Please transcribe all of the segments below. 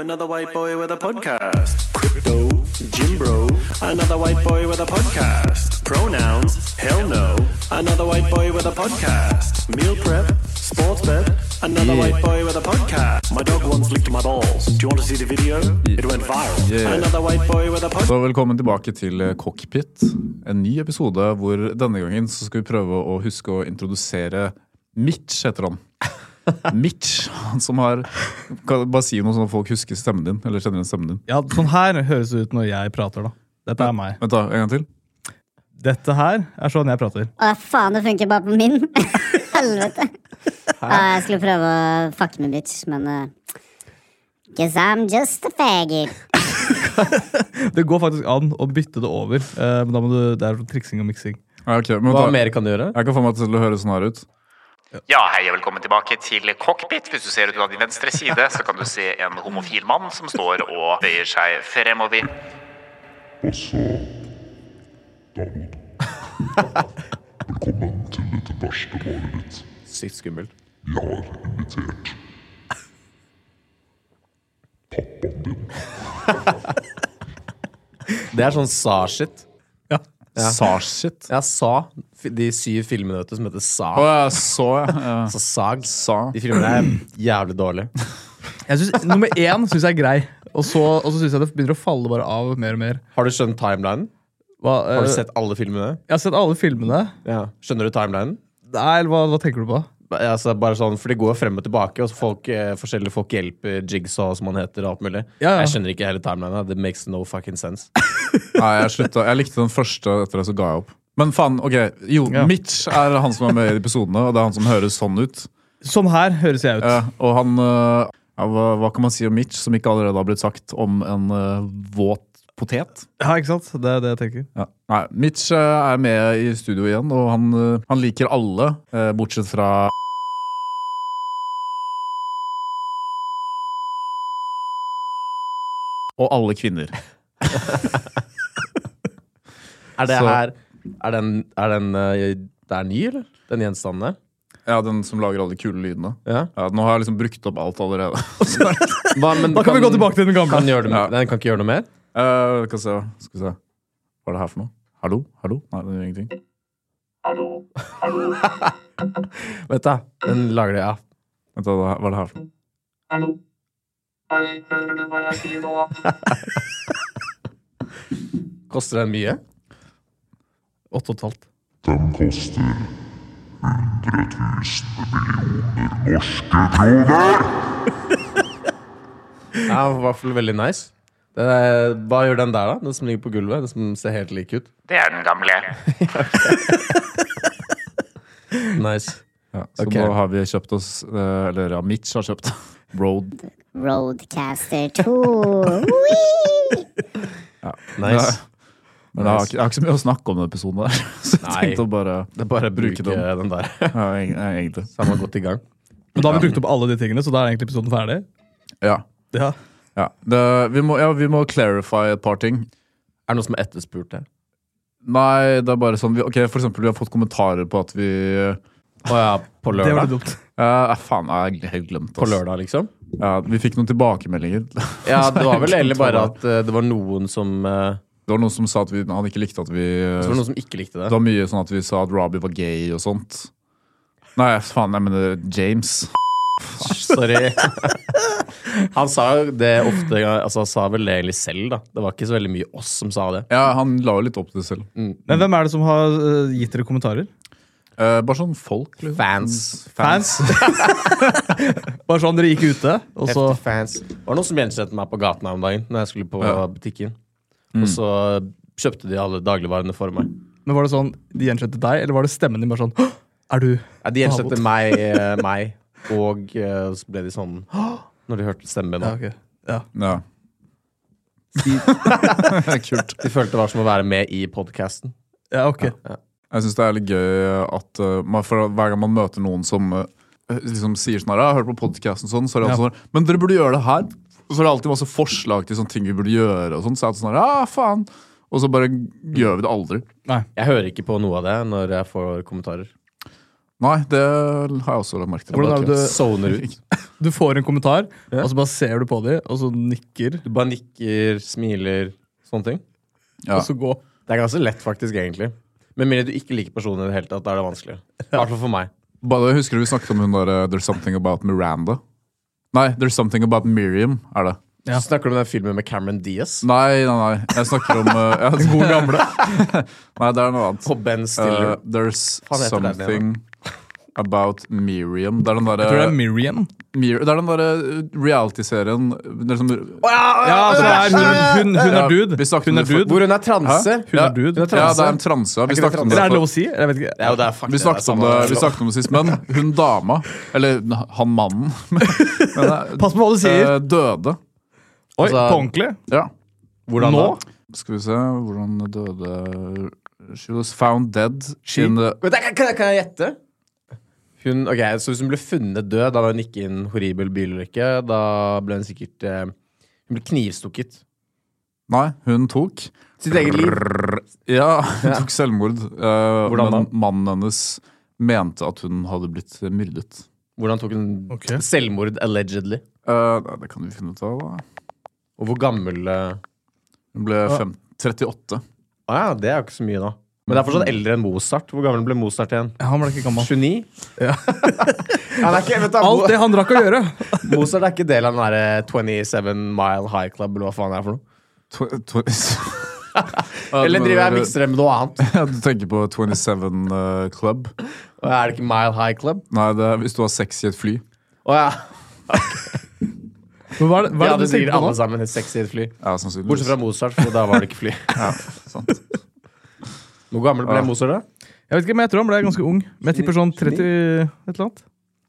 another white boy with a podcast. Crypto, Jimbro, another white boy with a podcast. Pronouns, hell no, another white boy with a podcast. Meal prep, sports bet, another Yeah. white boy with a podcast. My dog once licked my balls. Do you want to see the video? It went viral. Yeah. Another white boy with a podcast. Så velkommen tilbake til eh, Cockpit. En ny episode hvor denne gangen så skal vi prøve å huske å introdusere Mitch, heter han. Mitch, han som har kan Bare si noe sånn at folk husker stemmen din. Eller kjenner igjen stemmen din. Ja, sånn her høres det ut når jeg prater, da. Dette er meg. Vent da, en gang til. Dette her er sånn jeg prater. Å, faen, det funker bare på min. Helvete. Ja, jeg skulle prøve å fucke med bitch, men uh, Guess I'm just a faggot. Det går faktisk an å bytte det over, eh, men da må du, det er triksing og miksing. Ja, ok, men Hva vent da. mer kan du gjøre? Jeg kan få meg til å høre sånn her ut. Ja, hei og velkommen tilbake til cockpit. Hvis du ser ut av din venstre side, så kan du se en homofil mann som står og bøyer seg fremover. Og så David. Velkommen til dette verste baret ditt. Sykt skummelt. Vi har invitert pappaen din. Det er sånn sa-shit. Sars-shit. Ja, Sa. F- De syv filmene vet du, som heter Sa. Å ja, så ja. Altså Sag. Sa. De filmene er jævlig dårlige. Jeg synes, nummer én syns jeg er grei, og så, og så syns jeg det begynner å falle bare av mer og mer. Har du skjønt timelinen? Hva, eh, Har du sett alle filmene? Jeg har sett alle filmene. Ja. Skjønner du timelinen? Nei, eller hva, hva tenker du på? Ja, så det er bare sånn, for De går frem og tilbake, og så folk, eh, forskjellige folk hjelper Jigsaw, som han heter. og alt mulig. Ja, ja. Jeg skjønner ikke hele timelinen. Det makes no fucking sense. Nei, jeg slutta. Jeg likte den første, etter det så ga jeg opp. Men faen, ok. Jo, Ja. Mitch er han som er med i episodene, og det er han som høres sånn ut. Sånn her høres jeg ut. Ja, og han øh, ja, hva, hva kan man si om Mitch, som ikke allerede har blitt sagt om en øh, våt potet? Ja, ikke sant? Det er det jeg tenker. Ja. Nei, Mitch øh, er med i studio igjen, og han, øh, han liker alle, øh, bortsett fra Og alle kvinner. Er det Så- her Er den, er den eh, Det er ny, eller? Den gjenstanden der? Ja, Den som lager alle de kule lydene. Ja. Ja, nå har jeg liksom brukt opp alt allerede. Hva, men Da kan vi gå tilbake til den gamle. Kan gjøre det, Ja. Den kan ikke gjøre noe mer? Eh, Hva skal vi se Skal vi se. Hva er det her for noe? Hallo? Hallo? Nei, det gjør ingenting. Vet du, den lager det, ja. Vent, da, hva er det her for noe? Koster den mye? Åtte og et halvt. Den koster 100 000 millioner norske kroner! Ja, i hvert fall veldig nice. Det er, hva gjør den der, da? Den som ligger på gulvet? Den som ser helt lik ut? Det er den gamle. Nice. Ja, så Ok. nå har vi kjøpt oss eh, Eller ja, Mitch har kjøpt Road. Roadcaster 2. Whee! nice. Men jeg har, ikke, jeg har ikke så mye å snakke om den episoden der. Så jeg Nei. tenkte å bare Det er bare å bruke Bruke den. den, der. ja, eg- ja, egentlig. Så er man godt i gang. Men da har vi brukt opp alle de tingene, så da er egentlig episoden ferdig. Ja. Ja. ja. Det, vi, må, ja vi må clarify et par ting. Er det noen som har etterspurt det? Nei, det er bare sånn vi, Ok, For eksempel, vi har fått kommentarer på at vi eh, Å ja, på Det var lørdag? litt dumt. eh, Faen, jeg har helt glemt På ass. lørdag, liksom? Ja, vi fikk noen tilbakemeldinger. Det Ja, det var vel egentlig bare at eh, det var noen som eh, var noen som sa at vi, han ikke likte at vi eh, Det var noen som ikke likte Det det. var mye sånn at vi sa at Robbie var gay og sånt. Nei, faen, jeg mener James. Sorry. Han sa jo det ofte Altså, han sa vel det egentlig selv, da. Det var ikke så veldig mye oss som sa det. Ja, han la jo litt opp til det selv. Men hvem er det som har eh, gitt dere kommentarer? Eh, bare sånn folk. Liksom. Fans. Fans? Bare sånn dere gikk ute, og så Heftig fans. Det var noen som gjenkjente meg på gaten her om dagen Når jeg skulle på Ja. butikken. Og så kjøpte de alle dagligvarene for meg. Men var det sånn de gjenkjente deg, eller var det stemmen din bare sånn «Hå! Er du Ja, de gjenkjente Nabo. meg, eh, meg, og eh, så ble de sånn når de hørte stemmen min. Ja, ok. Ja. Ja. Kult. De følte det var som å være med i podkasten. ja, ok. Jeg syns det er litt gøy at eh, man, for hver gang man møter noen som eh, liksom sier sånn her, «Ah, 'Jeg hører på podkasten sånn, så er det alltid sånn Men dere burde gjøre det her. Og så er det alltid masse forslag til sånne ting vi burde gjøre, og sånn. Så er det sånn her, ah, faen. Og så bare gjør vi det aldri. Jeg hører ikke på noe av det når jeg får kommentarer. Nei, det har jeg også lagt merke til. Hvordan er det du- Soner ut. Du får en kommentar, og så bare ser du på dem, og så nikker, Du bare nikker, smiler, sånne ting. Ja. og så går. Det er ganske lett, faktisk, egentlig. Med mindre du ikke liker personen i det hele tatt, da er det vanskelig. I hvert fall for meg. Bare, husker du vi snakket om hun der eh, There's Something About Miranda? Nei, There's Something About Miriam, er det. Ja. Snakker du om den filmen med Cameron Diaz? Nei, nei, nei. Jeg snakker om eh, ja, Den gode gamle. nei, det er noe annet. Og Ben Stiller. Eh, there's Faen heter den igjen, da? Something About Miriam. Det er den derre Tror du det er Miriam? Mir- Det er den derre eh, reality-serien det er liksom- Ah, Ja, altså det er, hun, hun, hun Ja, er dude. vi snakket om Hun er det for- dude. Hvor hun er transe? Hæ? Hun ja, er dude. Hun er transe. Ja, det er en transe. Vi ikke det snakket om Eller det. er det lov For, å si? Jeg vet ikke. Ja, det er fuck, vi det er snakket om samme- det, vi snakket om det sist, men hun dama, eller han mannen, Pass på hva du sier! eh, døde. Oi, altså- på ordentlig? Ja. Hvordan Nå? da? Skal vi se hvordan døde She was found dead in the Vent, kan, kan, kan jeg gjette? Hun, ok, så Hvis hun ble funnet død da hun gikk inn horribel bilulykke, da ble hun sikkert eh, Hun ble knivstukket. Nei, hun tok. Sitt eget liv. Ja, hun tok selvmord. eh, Hvordan men da? mannen hennes mente at hun hadde blitt myrdet. Hvordan tok hun Ok. selvmord allegedly? Eh, nei, det kan vi finne ut av, da. Og hvor gammel eh, Hun ble fem, 38. Å ja, det er jo ikke så mye, da. Men det er fortsatt eldre enn Mozart. Hvor gammel ble Mozart igjen? Ja, Han ble ikke gammel. 29? Ja, det er ikke, vet du, Alt det han rakk å gjøre! Mozart er ikke del av den derre 27 Mile High Club, eller hva faen det er for noe. Tw- tw- Ja, Eller men driver jeg og det- mikser det med noe annet? Ja, Du tenker på 27 eh, Club? Og Er det ikke Mile High Club? Nei, det er hvis du har sex i et fly. Å ja. Men hva er det, Vi hva er hadde det du sikkert tenker på alle nå? sammen et sex i et fly. Ja, sannsynligvis. Bortsett fra Mozart, for da var det ikke fly. ja, sant. Hvor gammel ble Ja. Mozart, da? Jeg vet ikke, men jeg tror han ble ganske ung. Men jeg tipper sånn 30 et eller annet.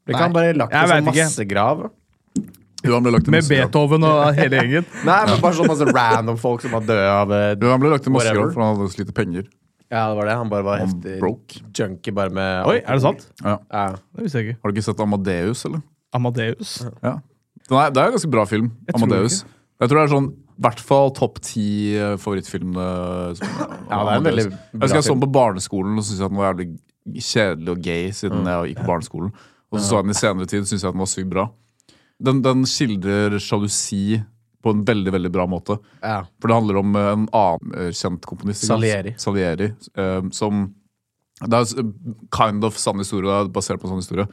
Ble ikke han bare lagt i jeg sånn vet ikke. massegrav? Jo, han ble lagt i Med massegrav. Beethoven og hele gjengen. Nei, men bare sånn masse random folk som var døde av eh, Jo, han ble lagt i Whatever. massegrav, for han hadde så lite penger. Ja, det var det. Han bare var Han heftig broke. junkie, bare med Oi, er det sant? Ja. Ja. Det visste jeg ikke. Har du ikke sett Amadeus, eller? Amadeus. Ja. Den er, det er en ganske bra film. Jeg tror Amadeus. Jeg tror det er sånn i hvert fall topp ti eh, favorittfilmene. som- Ja, det er en Amadeus. veldig Jeg bra husker jeg så film. den på barneskolen og syntes jeg at den var jævlig kjedelig og gay siden jeg gikk på barneskolen. Og så så jeg den i senere tid og syntes jeg at den var sykt bra. Den, den skildrer sjalusi på en veldig veldig bra måte. ja. For det handler om eh, en annen eh, kjent komponist. ikke sant? Salieri. Salieri eh, som Det er s- kind of sann historie, det er basert på en sann historie.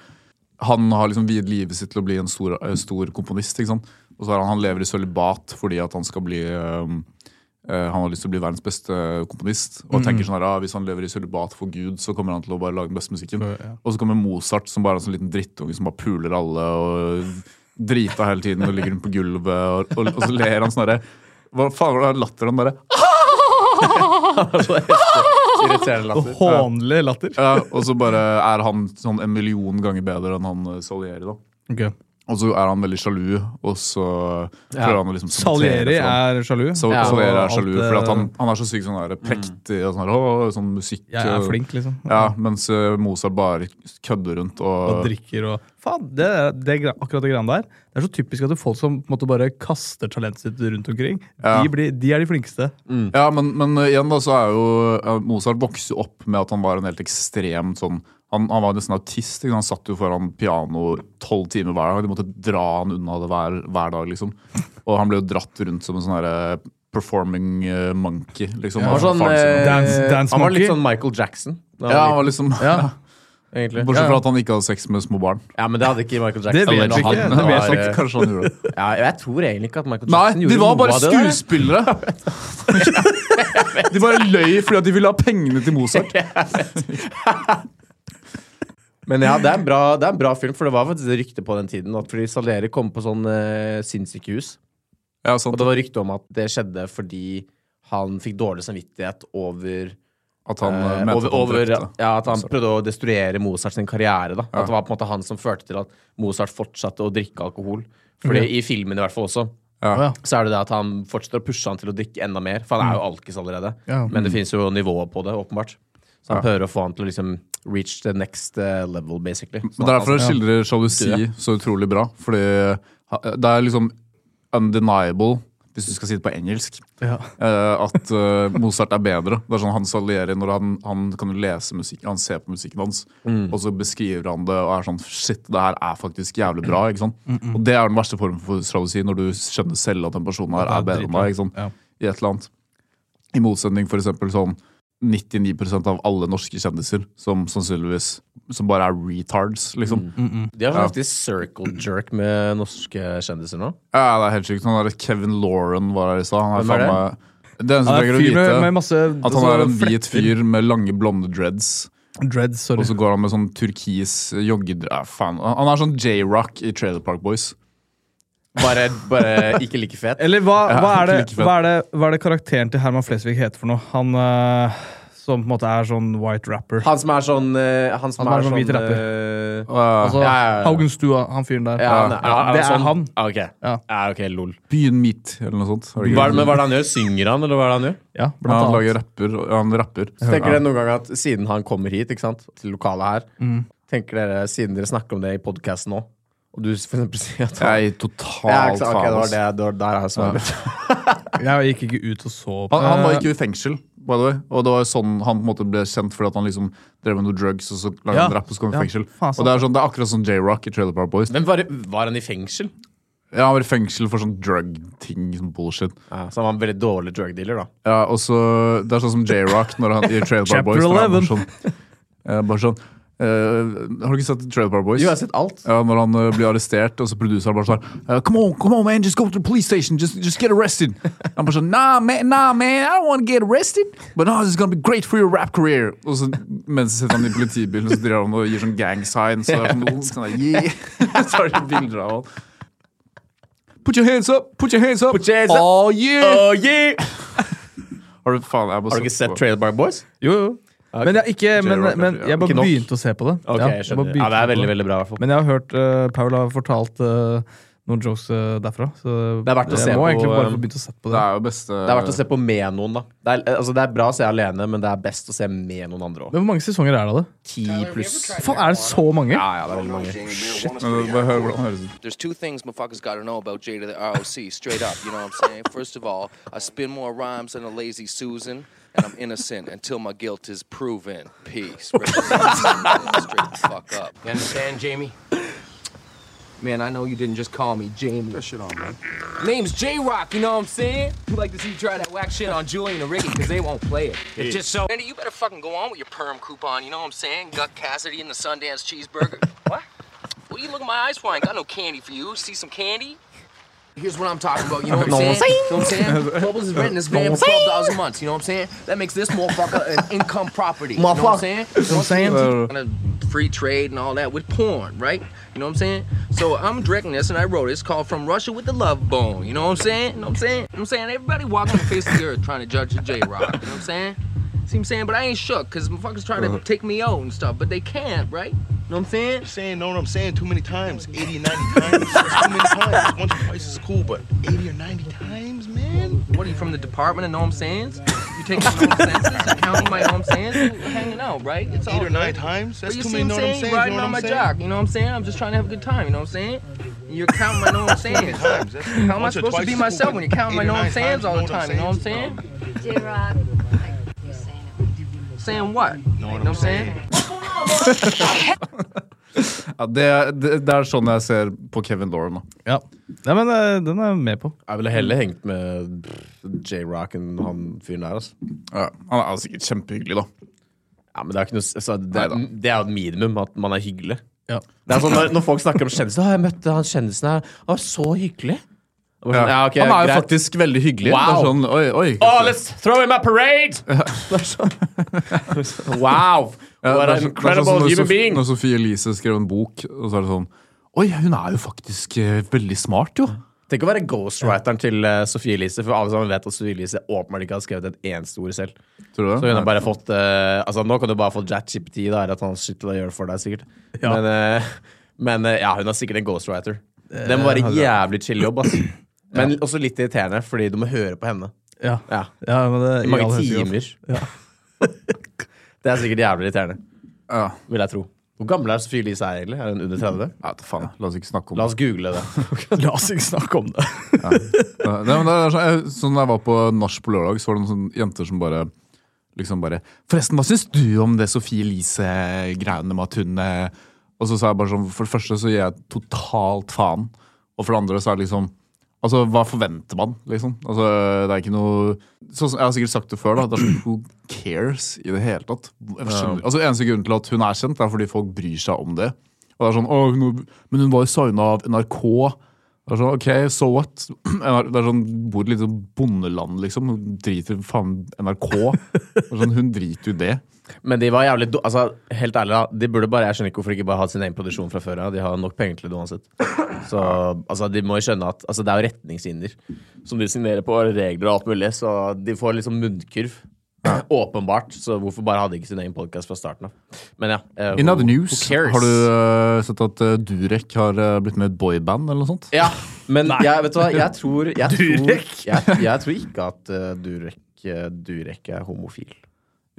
Han har liksom viet livet sitt til å bli en stor, eh, stor komponist. ikke sant? Og så er han, han lever i sølibat fordi at han skal bli eh, eh, han har lyst til å bli verdens beste eh, komponist. Og han tenker sånn her, ah, Hvis han lever i sølibat for Gud, så kommer han til å bare lage den beste musikken. Og så kommer Mozart, som bare er en sånn liten drittunge som bare puler alle og drita hele tiden og ligger rundt på gulvet. Og, og, og så ler han sånn herre Hva faen var det latter han bare Irriterende latter. Hånlig latter. ja, Og så bare er han sånn en million ganger bedre enn han eh, Salieri, da. Ok. Og så er han veldig sjalu, og så prøver han å liksom Salieri er sjalu. Så, Ja, Salieri og er sjalu, alt, eh, mm. fordi at han, han er så sykt sånn der, prektig og sånn, her, «Åh», sånn musikk Jeg er og- flink, liksom. Ja, mens eh, Mozart bare kødder rundt og, Og drikker og Faen, det, er- det, er gra- akkurat det greiene der. Det er så typisk at det er folk som på en måte bare kaster talentet sitt rundt omkring. Ja. De, blir, de er de flinkeste. Ja, men, men eh, igjen da, så er jo eh, Mozart vokste jo opp med at han var en helt ekstremt sånn han, han var nesten autist. Ikke? sant? Han satt jo foran piano tolv timer hver dag. De måtte dra han unna det hver, hver dag, liksom. Og han ble jo dratt rundt som en sånn herre performing eh, monkey, liksom. Han var sånn Faren sin. eh, Dance- dance Han var litt monkey. sånn Michael Jackson. da han ja, han var var liksom liten, egentlig. Bortsett fra at han ikke hadde sex med små barn. Ja, men det hadde ikke Michael Jackson. Det vet Eller vi ikke, han det vet var, vi eh, sånn, Kanskje han gjorde det. ja, jeg tror egentlig ikke at Michael Nei, Jackson de gjorde var noe bare av det der. skuespillere! De bare løy fordi at de ville ha pengene til Mozart. Men ja, det er, en bra, det er en bra film, for det var faktisk et rykte på den tiden. At fordi Salieri kom på sånn eh, sinnssykehus. Ja, Og sant. det var rykte om at det skjedde fordi han fikk dårlig samvittighet over At han eh, eh, mente at over, han over drepte. ja, At han prøvde å destruere Mozart sin karriere. Da. At det var på en måte han som førte til at Mozart fortsatte å drikke alkohol. Fordi I filmen i hvert fall også. Ja. Så er det det at han fortsetter å pushe han til å drikke enda mer. For han er jo alkis allerede. Ja. Men det finnes jo nivået på det, åpenbart. Så han prøver å få han til å liksom reach the next eh, level, basically. Sånn Men det er at han- derfor det skildrer sjalusi Død. så utrolig bra. Fordi ha- det er liksom undeniable hvis du skal si det på engelsk, Ja. eh, at eh, Mozart er bedre. Det er sånn Han salierer når han, han kan jo lese musikk, han ser på musikken hans, Mm. og så beskriver han det og er sånn Shit, det her er faktisk jævlig bra. ikke sant? Mm, Og det er den verste formen for sjalusi, når du skjønner selv at den personen her At er det er bedre enn dritbra. deg. ikke sant? Ja. I et eller annet. I motsetning for eksempel sånn 99 av alle norske kjendiser som sannsynligvis som bare er retards, liksom. De har sånn heftig circle jerk med norske kjendiser nå. Ja, det er helt sykt. Han der Kevin Lauren var her i stad. Han er Hvem faen er meg Det eneste Han du er trenger en å fyr med, med vite, masse at han er en fletter. hvit fyr med lange, blonde dreads. Dreads, sorry. Og så går han med sånn turkis joggedre... Ja, faen. Han han er sånn J-rock i Trailer Park Boys. Bare, bare ikke like fet. Eller hva, Ja, hva, er det, ikke like fett. hva, er det, hva er det karakteren til Herman Flesvig heter for noe? Han eh, som på en måte er sånn white rapper. Han som er sånn eh, Han som Han er, er sånn hvit sånn rapper. eh, altså, ja, ja, ja. Haugenstua, han fyren der. ja, han er- er det er sånn- han. Ah, ok. Ja. Ja, ok, lol. Byen mitt, eller noe sånt. Har du Hva er, ikke- det- men hva er det han gjør? Synger han, eller hva er det han gjør? Ja, Ja, blant han annet. lager rapper. og- Han rapper. Så tenker Ja. dere noen gang at siden han kommer hit, ikke sant, til lokalet her Tenker dere, Siden dere snakker om det i podkasten nå, og du for eksempel sier at han, Jeg er ja, ikke totalt sant, ok, faen, det var ass. det, det var der er svaret. Jeg gikk ikke ut og så på Han, han var Eh, ikke i fengsel, by the way. Og det var sånn han på en måte ble kjent fordi at han liksom drev med noe drugs og så lagde Ja. han rap og så kom han Ja, i fengsel. faen, sant. og det er, sånn, det er akkurat som J-Rock i Trailer Park Boys. Men var, var han i fengsel? Ja, han var i fengsel for sånn drug-ting. Sånn bullshit. Ja, så han var en veldig dårlig drug dealer, da. Ja, og så Det er sånn som J-Rock når han i Trailer Park Boys. Chapter når han bare 11. sånn, eh, bare sånn eh, Har du ikke sett Trailer Park Boys? Jo, jeg har sett alt. Ja, når han eh, blir arrestert, og så produseren bare sånn eh, Come on, come on, man, just go to the police station, just, just get arrested. Han bare sånn Nah, man, nah, man, I don't want to get arrested, but no, this is gonna be great for your rap career. Og så mens de setter han i politibilen, så driver han og gir sånn gang sign, så er det sånn, sånn der, yeah. så tar de bilder av han. Put your hands up, put your hands up. Put your hands up. Oh, yeah. Oh, yeah! Har du, faen, jeg bare Har du så ikke sett på- Trailer Park Boys? Jo, jo. Men jeg, ikke, men, J-Rock, men ja. jeg Ikke bare nok. begynte å se på det. Ok, Ja, jeg jeg bare begynte å skjønner. Ja, det se er på veldig, veldig bra. i hvert fall. Men jeg har hørt eh, Paul har fortalt eh, noen jokes eh, derfra. Så Det er verdt å jeg se må på, egentlig bare eh, få begynt å se på Det det. er jo beste Det er verdt å se på med noen, da. Det er, altså, det er bra å se alene, men det er best å se med noen andre òg. Men hvor mange sesonger er det av det? Ti pluss. Faen, er det så mange? Ja, ja, det er veldig mange. Men Bare hør hvordan det høres ut. There's two things motherfuckers gotta know about Jada the ROC, straight up, you know what I'm saying? First of all, I spin more rhymes than a lazy Susan, and I'm innocent until my guilt is proven. Peace. Represent Susan, straight the fuck up. You understand, Jamie? Man, I know you didn't just call me Jamie. That shit on, man. Name's J Rock, you know what I'm saying? We like to see you try that whack shit on Julian and Ricky, because they won't play it. It's just so. Andy, you better fucking go on with your perm coupon, you know what I'm saying? Got Cassidy and the Sundance cheeseburger. what? What are you looking at my eyes for? I ain't got no candy for you. See some candy? Here's what I'm talking about, you know what I'm saying? You know what I'm saying? Bubbles is renting this van for $12 a month, you know what I'm saying? That makes this motherfucker an income property. You know what I'm saying? You know what I'm saying? kind of free trade and all that with porn, right? You know what I'm saying? So I'm directing this and I wrote it. It's called From Russia with the Love Bone. You know what I'm saying? You know what I'm saying? You know what I'm saying? Everybody walking the face of the earth trying to judge the J Rock. You know what I'm saying? See what I'm saying? But I ain't shook because motherfuckers trying to take me out and stuff, but they can't, right? You know what I'm saying? saying, know what I'm saying, too many times. 80, 90 times. It's too many times. Once or twice is cool, but 80 or 90 times, man? What are you from the Department of Norm Sands? You taking Norm Sands? You counting my Norm Sands? You hanging out, right? It's all Eight or good. nine times? That's But you too see many, know what what I'm I'm saying? saying? You Riding know what on I'm my saying? jock, you know what I'm saying? I'm just trying to have a good time, you know what I'm saying? And You're counting my normal sayings. How Times. That's am I once or supposed to twice be is myself cool, when but you're counting my eight or normal nine sayings times, all the know what I'm time, you know what I'm saying? saying? J-Rock, like you're saying it like Saying what? You know what I'm saying? Ja, det, det, det er sånn jeg ser på Kevin Lauren. Da. Ja. Nei, men eh, den er jeg med på. Jeg ville heller hengt med J-Rock enn han fyren der, altså. Ja, han er sikkert kjempehyggelig, da. Ja, men det er, ikke noe, altså, det, er, Neida. det er jo et minimum at man er hyggelig. Ja. Det er sånn Når, når folk snakker om kjendiser «Å, 'Jeg møtte han kjendisen her. Han var så hyggelig'. Og bare Sånn, ja, ok, han er jo greit. faktisk veldig hyggelig. Wow. Det er sånn, oi, oi. Oh, let's throw him a parade! Det er sånn- wow! Ja, det What er så- an det er sånn incredible som når human Sof- being! Når Sophie Elise skrev en bok, og så er det sånn Oi, hun er jo faktisk eh, veldig smart, jo. Tenk å være ghostwriteren til eh, Sophie Elise, for alle sammen vet at Sophie Elise åpenbart ikke har skrevet et eneste ord selv. Tror du Så hun har det? bare fått eh, Altså Nå kan du bare få JatGPT, da er det at han har shit til å gjøre for deg, sikkert. Ja. Men, eh, men eh, ja, hun er sikkert en ghostwriter. Det må være jævlig chill jobb, ass. Men også litt irriterende, fordi du må høre på henne. Ja. Ja, Ja, men det, I i all mange høyeste grad. timer. det er sikkert jævlig irriterende, Ja. vil jeg tro. Hvor gamle er Sofie Elise her egentlig? Er hun under 30? Nei, ta faen. La oss ikke snakke om La oss google det. La oss ikke snakke om det. Nei, men det er sånn, jeg, sånn da jeg var på nach på lørdag, så var det noen sånne jenter som bare liksom bare Forresten, hva syns du om det Sophie Elise-greiene med at hun eh?» Og så sa jeg bare sånn For det første så gir jeg totalt faen. Og for det andre så er det liksom Altså, hva forventer man, liksom? Altså, det er ikke noe sånn som- Jeg har sikkert sagt det før, da. Det er sånn, who cares i det hele tatt? Jeg skjønner- Altså, Eneste grunnen til at hun er kjent, er fordi folk bryr seg om det. Og det er sånn, «Åh, hun, Men hun var jo signa av NRK. Det er sånn, ok, so what? NR- Det er sånn, Bor i et lite bondeland, liksom. Hun driter faen NRK. Det er sånn, hun driter jo i det. Men de var jævlig do Altså, helt ærlig, da. De burde bare Jeg skjønner ikke hvorfor de ikke bare har sin egen produksjon fra før av. De har nok penger til det uansett. Så altså, de må jo skjønne at altså, det er jo retningslinjer som de signerer på, og regler og alt mulig, så de får liksom munnkurv. Åpenbart, så hvorfor bare hadde de ikke sin egen podkast fra starten av? Men ja. eh, In who- other news, who cares? har du eh, sett at eh, Durek har eh, blitt med i et boyband, eller noe sånt? Ja, men jeg, vet du hva, jeg tror Jeg, Tror, jeg, jeg tror ikke at eh, Durek, eh, Durek er homofil.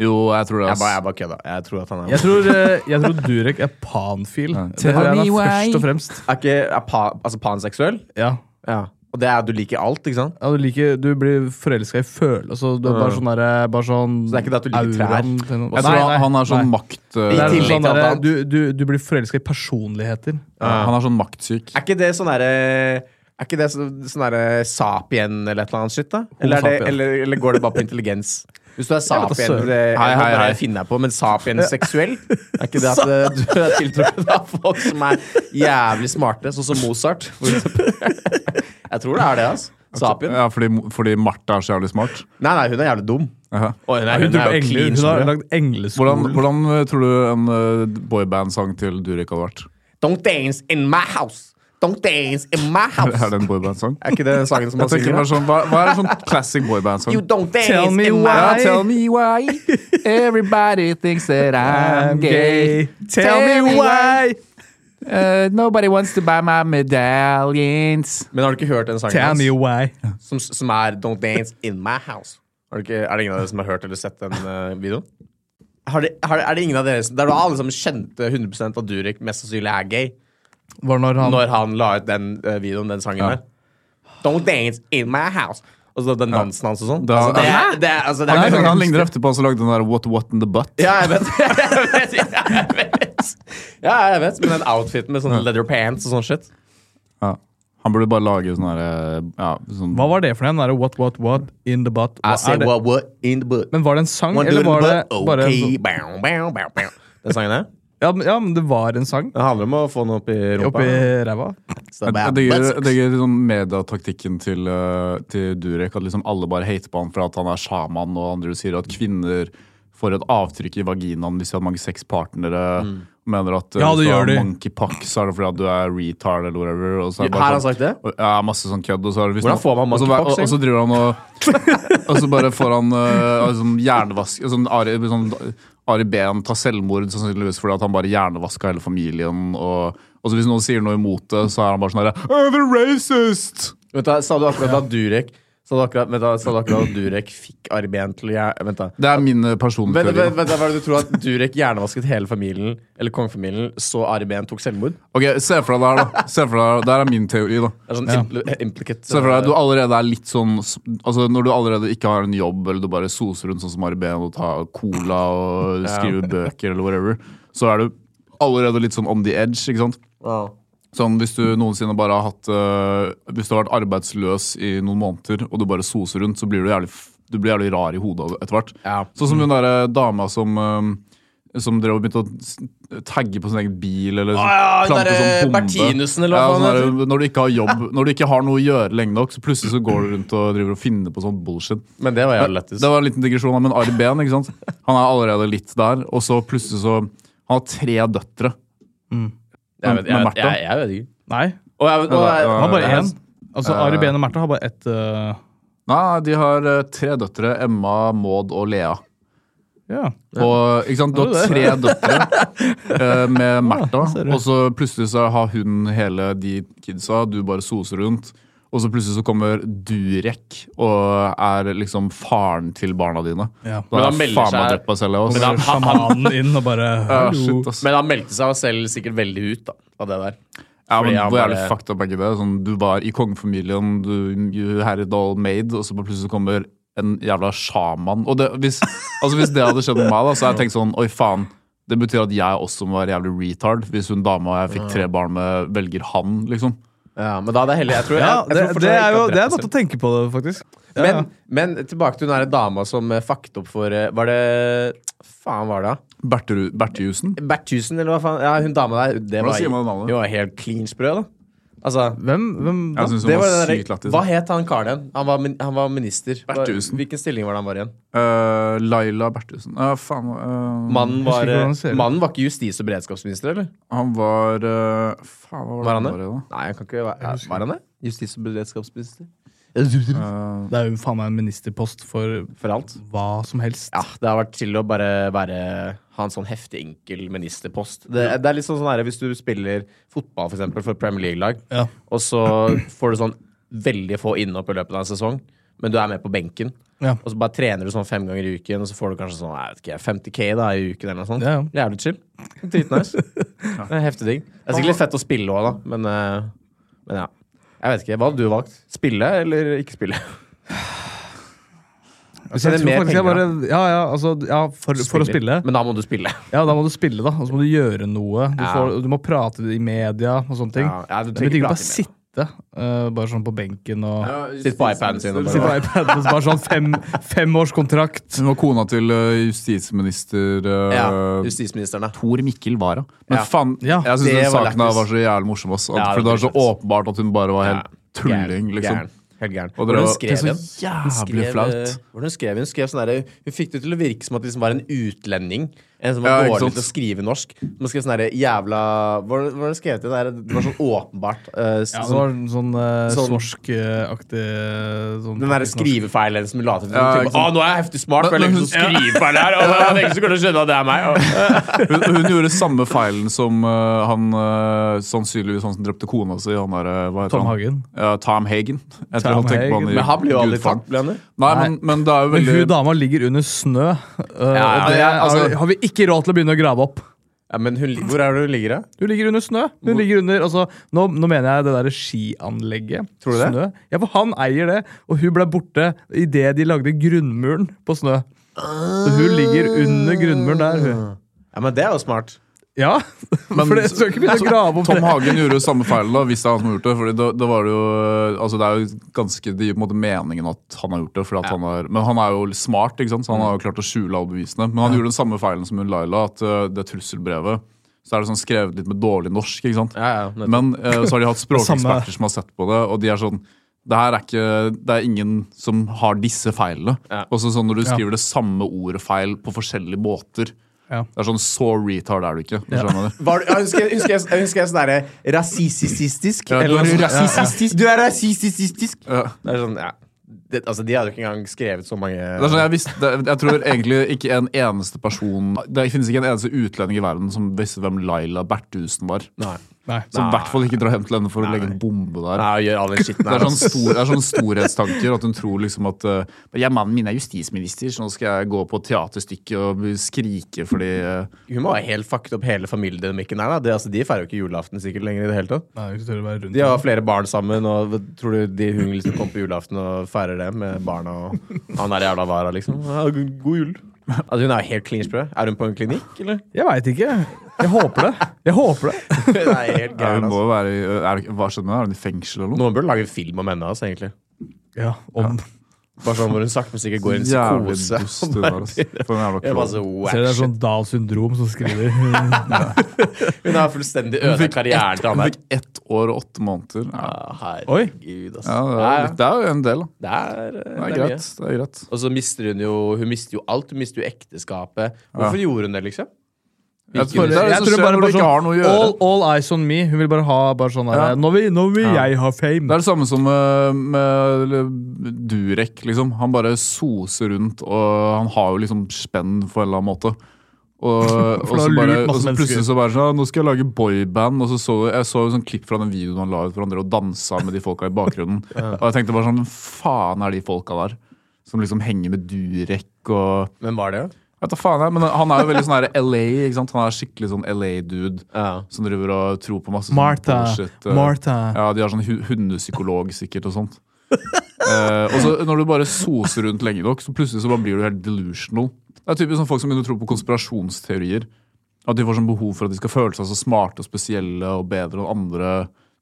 Jo, jeg tror det. Jeg ass. bare, jeg bare kødda. Jeg tror at han er Jeg tror, eh, jeg tror Durek er panfil. Det tror jeg da, først og fremst. Er ikke er pa, altså panseksuell? Ja. Ja. Og det er du liker alt, ikke sant? Ja, du, liker, du blir forelska i følelser. Altså, du er bare sånn derre bare sånn Så det er ikke det at du liker trær? auraen til noe- Jeg tror Nei, han- nei, han er sånn nei. makt... eh, I Det er tillegg sånn til alt derre- annet. du, du, du blir forelska i personligheter. Han er sånn maktsyk. Er ikke det sånn derre er ikke det så- sånn derre sapien eller et eller annet shit, da? Eller, er det, sapien. eller, eller går det bare på intelligens? Hvis du er vet da sapien søren. det, Hei, hei, hei. Det finner jeg på, men sapien seksuell? Er ikke det at eh, du er tiltrukket av folk som er jævlig smarte, sånn som Mozart? for eksempel? Jeg tror det er det, altså. Sapien. Ja, fordi, fordi Martha er så jævlig smart. Nei, nei, hun er jævlig dum. Aha. Og hun er, Hun, hun tror er på jo engler, hun clean. har skjønner du. lagd engleskole. Hvordan, hvordan eh, tror du en eh, boyband-sang til Durek hadde vært? Don't dance in my house! Don't dance in my Er, house! er det en boyband-sang? Er ikke det den sangen som Jeg han tenker bare synger? da? sånn, hva, hva er en sånn classic boyband-sang? You don't dance Tell me in my why. Yeah, tell me why everybody thinks that I'm gay. Tell me why! Uh, nobody wants to buy my medallions. Men har du ikke hørt den sangen Tell hans? me why. som, som er Don't Dance In My House. Har du ikke, er det ingen av dere som har hørt eller sett den eh, videoen? Har det, har, er det ingen av dere som, Det er da alle som kjente 100 at Durek mest sannsynlig er gay, Var når han når han la ut den eh, videoen, den sangen der. Don't dance in my house. Og så den dansen hans og sånn. Da- altså, det, er- det, er- altså, det er Han, ikke er, sånn- han ligner ofte på han som lagde den der What What in the Butt. Ja, jeg vet. jeg vet, jeg vet. Ja, jeg vet. Men den outfiten med sånne leather pants og sånn shit. Ja. Han burde bare lage sånn derre ja, sånn, Hva var det for en? Den derre What, what, what in the butt? Hva I say er det? what, what in the butt. Men var det en sang, One eller dude in var the det butt, bare okay, en, sånn- bow, bow, bow, bow. Den sangen der? ja, men- ja, men det var en sang Det handler om å få den opp i rumpa. oppi ræva. Så Jeg det er jeg bare- digger, Butt jeg sex. digger sånn medietaktikken til, eh, til Durek. At liksom alle bare hater på han for at han er sjaman, og andre sier at kvinner får et avtrykk i vaginaen hvis de har mange sexpartnere. Mm. Mener at eh, Ja, hvis det du gjør har de. monkeypock, så er det fordi at du er retard eller whatever. Og så er det Ja, bare har han sånn- sagt det? og- Ja, masse sånn kødd. Og så er det hvis Hvordan får man og så vær- monkeypox, Og, og så driver han og Og så bare får han eh, sånn hjernevask sånn Ari, sånn, Ari Behn tar selvmord sannsynligvis fordi at han bare hjernevaska hele familien. Og, og så hvis noen sier noe imot det, så er han bare sånn herre oh, They're racist! Vent da, Sa du akkurat at Durek Sa du akkurat, vent da, sa du akkurat at Durek fikk Arben til å gjerne Vent, da. Det er min eh, Vent, vent, personteori. vent, da, Hva er det du tror at Durek hjernevasket hele familien, eller kongefamilien, så Arben tok selvmord? Ok, Se for deg det her, da. Se for deg, det her er min teori, da. Det er sånn impl implicate Se for deg at du allerede er litt sånn Altså Når du allerede ikke har en jobb, eller du bare soser rundt sånn som Ari Behn og tar cola og skriver bøker eller whatever, så er du allerede litt sånn on the edge, ikke sant? Wow. Sånn hvis du noensinne bare har hatt øh, Hvis du har vært arbeidsløs i noen måneder, og du bare soser rundt, så blir du jævlig, f- du blir jævlig rar i hodet etter hvert. Ja. Sånn som hun derre dama som øh, Som drev og begynte å s- tagge på sin egen bil, eller Ah, ja, hun plante derre sånn bombe. Bertinussen, eller hva Ja, faen sånn det derre- Når du ikke har jobb, når du ikke har noe å gjøre lenge nok, så plutselig så går du rundt og driver og finner på sånn bullshit. Men det var Det jævlig lettest. var en liten digresjon, da, men Ari Behn ikke sant? Han er allerede litt der, og så plutselig så Han har tre døtre. jeg, vet, med jeg, Martha. jeg, jeg vet ikke. Nei, Og jeg, og Uh, jeg, det Uh, han har bare jeg- én. Altså, Ari Behn og Märtha har bare ett. øh, Nei, de har eh, tre døtre. Emma, Maud og Lea. ja. Og ikke sant, Du har tre døtre eh, Ah, med Märtha, og så plutselig så har hun hele de kidsa, du bare soser rundt. Og så plutselig så kommer Durek og er liksom faren til barna dine. Ja. Da Men har han jeg melder faen meg seg- drept meg selv. jeg, Men ass. han- han- Sjamanen inn og bare Ja, hallo. Uh, shit, altså. ass. Men han meldte seg selv sikkert veldig ut da, av det der. Ja, men Fordi han Hvor jævlig bare- fucked up er ikke det? Sånn, du var i kongefamilien, du, you had it all made, og så bare plutselig kommer en jævla sjaman. Og det, hvis, altså, hvis det hadde skjedd med meg, da, så hadde jeg tenkt sånn Oi, faen. Det betyr at jeg også må være jævlig retard hvis hun dama jeg fikk tre barn med, velger han, liksom. Ja, men da hadde jeg heller jeg tror, jeg, Ja, jeg, det, tror fortsatt det jeg er ikke jo hadde det er drept meg godt å tenke på, det, faktisk. Ja, selv. ja. altså. men, men tilbake til hun der dama som eh, fucket opp for eh, Var det Faen, var det da? Berterud- Bertehusen. Berthusen, eller hva faen? Ja, hun dama der. Det Hvordan var, sier man navnet? hun var helt clean sprø, da. Altså, Hvem, hvem da? Jeg synes det hun var, var den sykt der, lættis. hva het han karen igjen? Han var, min- han var minister. Hva- Berthusen. Hvilken stilling var det han var igjen? Eh, Laila Berthusen. Ja, faen eh, Mannen husker ikke var, hvordan eh, han ser ut. mannen var ikke justis- og beredskapsminister, eller? Han var eh, Faen, hva Var var han det det? da? Nei, jeg kan ikke være ja, Var han det? Justis- og beredskapsminister? Uh, Det er jo faen meg en ministerpost for For alt? hva som helst. Ja, det har vært til å bare være ha en sånn heftig enkel ministerpost. Det, det er litt sånn sånn her, Hvis du spiller fotball for, eksempel, for Premier League-lag, Ja. og så får du sånn veldig få innhopp i løpet av en sesong, men du er med på benken, Ja. og så bare trener du sånn fem ganger i uken, og så får du kanskje sånn jeg vet ikke, 50K da i uken eller noe sånt. Ja, Jævlig chill. Dritnice. Det er heftig ting. Det er sikkert litt fett å spille òg, da, men, eh, men ja. Jeg vet ikke. Hva hadde du valgt? Spille eller ikke spille? Så jeg det er tror mer faktisk jeg penger, bare, ja, ja, altså, ja for, for å spille. Men da må du spille. Ja, da må du spille, da. Og så må du gjøre noe. Du, Ja. får, du må prate i media og sånne ting. Ja, ja, du det betyr trenger ikke ikke bare prate i media. sitte eh, bare sånn på benken og Sitt på iPaden sin og Sitte på bare iPaden og så bare sånn fem, femårskontrakt. Hun var kona til eh, justisminister eh, ja, Justisministeren, da. Tor Mikkel Wara. Men Ja. faen, Ja, jeg syns det den var saken her lættis. var så jævlig morsom. Ass, at, Ja, det for det var var så lættis. åpbart at hun bare var helt tulling, Gæren, liksom. gæren, Helt gæren. Og det Hvordan var- skrev det er så hun? Hun jævlig skrev, flaut. eh, Hvordan skrev hun? Hun skrev sånn derre Hun fikk det til å virke som at det liksom var en utlending. En som Ja, var ikke dårlig sant? til å skrive norsk. Hun skrev sånn derre jævla Hvordan hvordan skrev hun det? der? Det var sånn åpenbart. eh, Ja, det sånn, var en sånn uh, Sånn- svorskaktig eh, sånn den derre faktisk norsk. skrivefeilen som hun la til. Ja, Ja, ikke sant. nå er jeg heftig smart, for jeg Men- legger sånn skrivefeil her! Og det er ingen som kan skjønne at det er meg. Og, Hun, hun gjorde samme feilen som eh, han eh, sannsynligvis han som drepte kona si. Han der, eh, hva heter Tom han? Hagen. Ja, Tom Hagen. Jeg tror Tom han tenker på han i Hagen. men han blir jo aldri Gudfaren. fart, ble han det? Nei, men, men det er jo Men veldig hun dama ligger under snø, eh, ja, og det ja, altså- har- har vi ikke råd til å begynne å grave opp. Ja, men hun, li- hvor er det hun ligger, da? Hun ligger under snø. Hun ligger under, altså, nå, nå mener jeg det derre skianlegget. Tror du det? Snø. Ja, for han eier det, og hun ble borte idet de lagde grunnmuren på snø. Så hun ligger under grunnmuren der, hun. Ja, men det er jo smart. Ja, for det skal ikke begynne å grave opp Tom det. Hagen gjorde jo samme feilen, da, hvis det er han som har gjort det. Fordi da, da var det, jo, eh, altså det er jo ganske Det gir på en måte meningen at han har gjort det. Fordi at han er, men han er jo smart, ikke sant? så han Mm. har jo klart å skjule alle bevisene. Men han gjorde den samme feilen som hun Laila, at eh, det trusselbrevet så er det sånn skrevet litt med dårlig norsk. ikke sant? Ja, ja, nettopp. Men eh, så har de hatt Samme- språkeksperter som har sett på det, og de er sånn det, her er ikke, det er ingen som har disse feilene. Ja. Og så sånn Når du Ja. skriver det samme ordet feil på forskjellige måter Ja. Det er sånn Så retard er du ikke. Hvis du skjønner det. Var, du- ja, husker, jeg- husker, jeg, jeg husker jeg sånn derre rasistisk? Ja, du eller er noe sånt. rasistisk. Du er rasistisk! Ja. Det er sånn, ja. Det, altså, de hadde jo ikke engang skrevet så mange Det er sånn, jeg, visste, det, jeg tror egentlig ikke en eneste person Det finnes ikke en eneste utlending i verden som visste hvem Laila Berthusen var. Nei. Nei. Som i hvert fall ikke drar hjem til henne for å legge en bombe der. Nei, gjør all den skitten Det her. er, sånn altså. stor, det er sånn storhetstanker at hun tror liksom at eh, «Ja, mannen min er justisminister, så nå skal jeg gå på teaterstykke og bli- skrike fordi eh, Hun må ha helt fucked opp hele familiedynamikken her. Da. Det, altså, de feirer jo ikke julaften sikkert lenger i det hele tatt. Nei, vi tør å være rundt. De har flere barn sammen, og hva- tror du de, hun liksom kommer på julaften og feirer det med barna og han der jævla vara, liksom? Ja, god god jul. Altså, hun er jo helt klin sprø. Er hun på en klinikk, eller? Jeg veit ikke. Jeg håper det. Jeg håper det. Hun er helt ja, gæren, hun må altså. jo være i eh, er, Hva skjedde med henne? Er hun i fengsel eller noe? Noen burde lage en film om henne, altså, egentlig. Ja, om. Bare sånn hvor hun sakte, men sikkert går i en Jævlig psykose. dust hun er, ass. For en jævla Det er bare klovn. så wack Ser du det er shit. sånn Downs syndrom som skriver. Hun har fullstendig ødelagt karrieren til han Hun der. fikk ett år og åtte måneder. Ja, Ah, Oi. Herregud, ass. ja, det, er, litt- det er jo en del, da. Det er, eh, Det er, det greit. er mye. Det er greit. Og så mister hun jo Hun mister jo alt. Hun mister jo ekteskapet. Hvorfor gjorde hun det, liksom? Jeg Gikk tror hun- det er Jeg det som tror det skjer bare, når du bare ikke har sånn, noe å gjøre. all, all eyes on me. Hun vil bare ha bare sånn Ja. der, Nå vil, nå vil jeg ha Det fame. er det samme som eh, med Durek. liksom. Han bare soser rundt, og han har jo liksom spenn på en eller annen måte. Og, og, For da så har bare, lurt masse og så plutselig mennesker. så bare sånn, nå skal jeg lage boyband. Og så så jeg så jo sånn klipp fra den videoen han la ut, hvor han drev og dansa med de folka i bakgrunnen. Og jeg tenkte bare sånn, hvem faen er de folka der? Som liksom henger med Durek og Hvem var det? Jeg vet da faen jeg, men Han er jo veldig sånn her LA. ikke sant? Han er skikkelig sånn LA-dude som driver og tror på masse sånn Martha, bullshit, eh, Martha. Ja, De har sånn hu- hundepsykolog sikkert og sånt. Eh, og så Når du bare soser rundt lenge nok, så plutselig så bare blir du helt delusional. Det er typisk sånn folk som begynner å tro på konspirasjonsteorier. At de får sånn behov for at de skal føle seg så smarte og spesielle og bedre enn andre.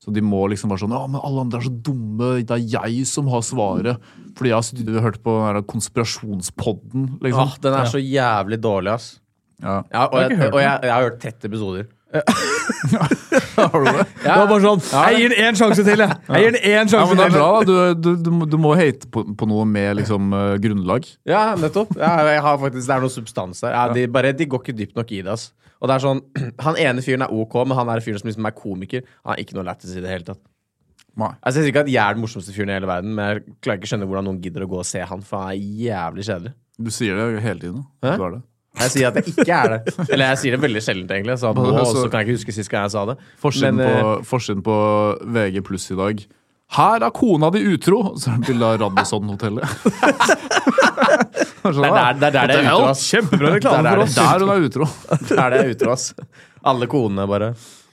Så de må liksom være sånn Ja, men alle andre er så dumme. Det er jeg som har svaret. Fordi jeg har sittet og hørt på den her konspirasjonspodden. Liksom. Åh, den er så jævlig dårlig, ass. Ja. Ja, og jeg, ikke hørt og jeg, jeg har hørt 30 episoder. Har du det? Ja. Det var bare sånn Jeg gir den én sjanse til, jeg! Jeg gir den én Ja, sjanse men det er til! bra. da. Du, du, du, må- du må hate på, på noe med liksom, eh, grunnlag. Ja, nettopp. Ja, jeg har faktisk, det er noe substans der. Ja, de, bare, de går ikke dypt nok i det. ass. Og det er sånn, Han ene fyren er ok, men han er fyren som liksom er komiker. Han har ikke noe lættis i det hele tatt. Nei. Altså, Jeg sier ikke at jeg er den morsomste fyren i hele verden, men jeg klarer ikke å skjønne hvordan noen gidder å gå og se han, for han er jævlig kjedelig. Du sier det hele tiden. Hæ? Du er det. Jeg sier at jeg ikke er det. Eller jeg sier det veldig sjeldent, egentlig. Så nå Men altså- også kan jeg ikke huske sist gang jeg sa det. Forsiden, Men, eh, på, forsiden på VG pluss i dag. Her er kona di utro! Og Så er det bilde av Radisson-hotellet. Det er eh, Det sånn, er der, det er der det er utro, ass. Kjempebra Der reklame er for det. oss! ja. Der hun er utro. Det er det jeg er utro, ass. Alle konene bare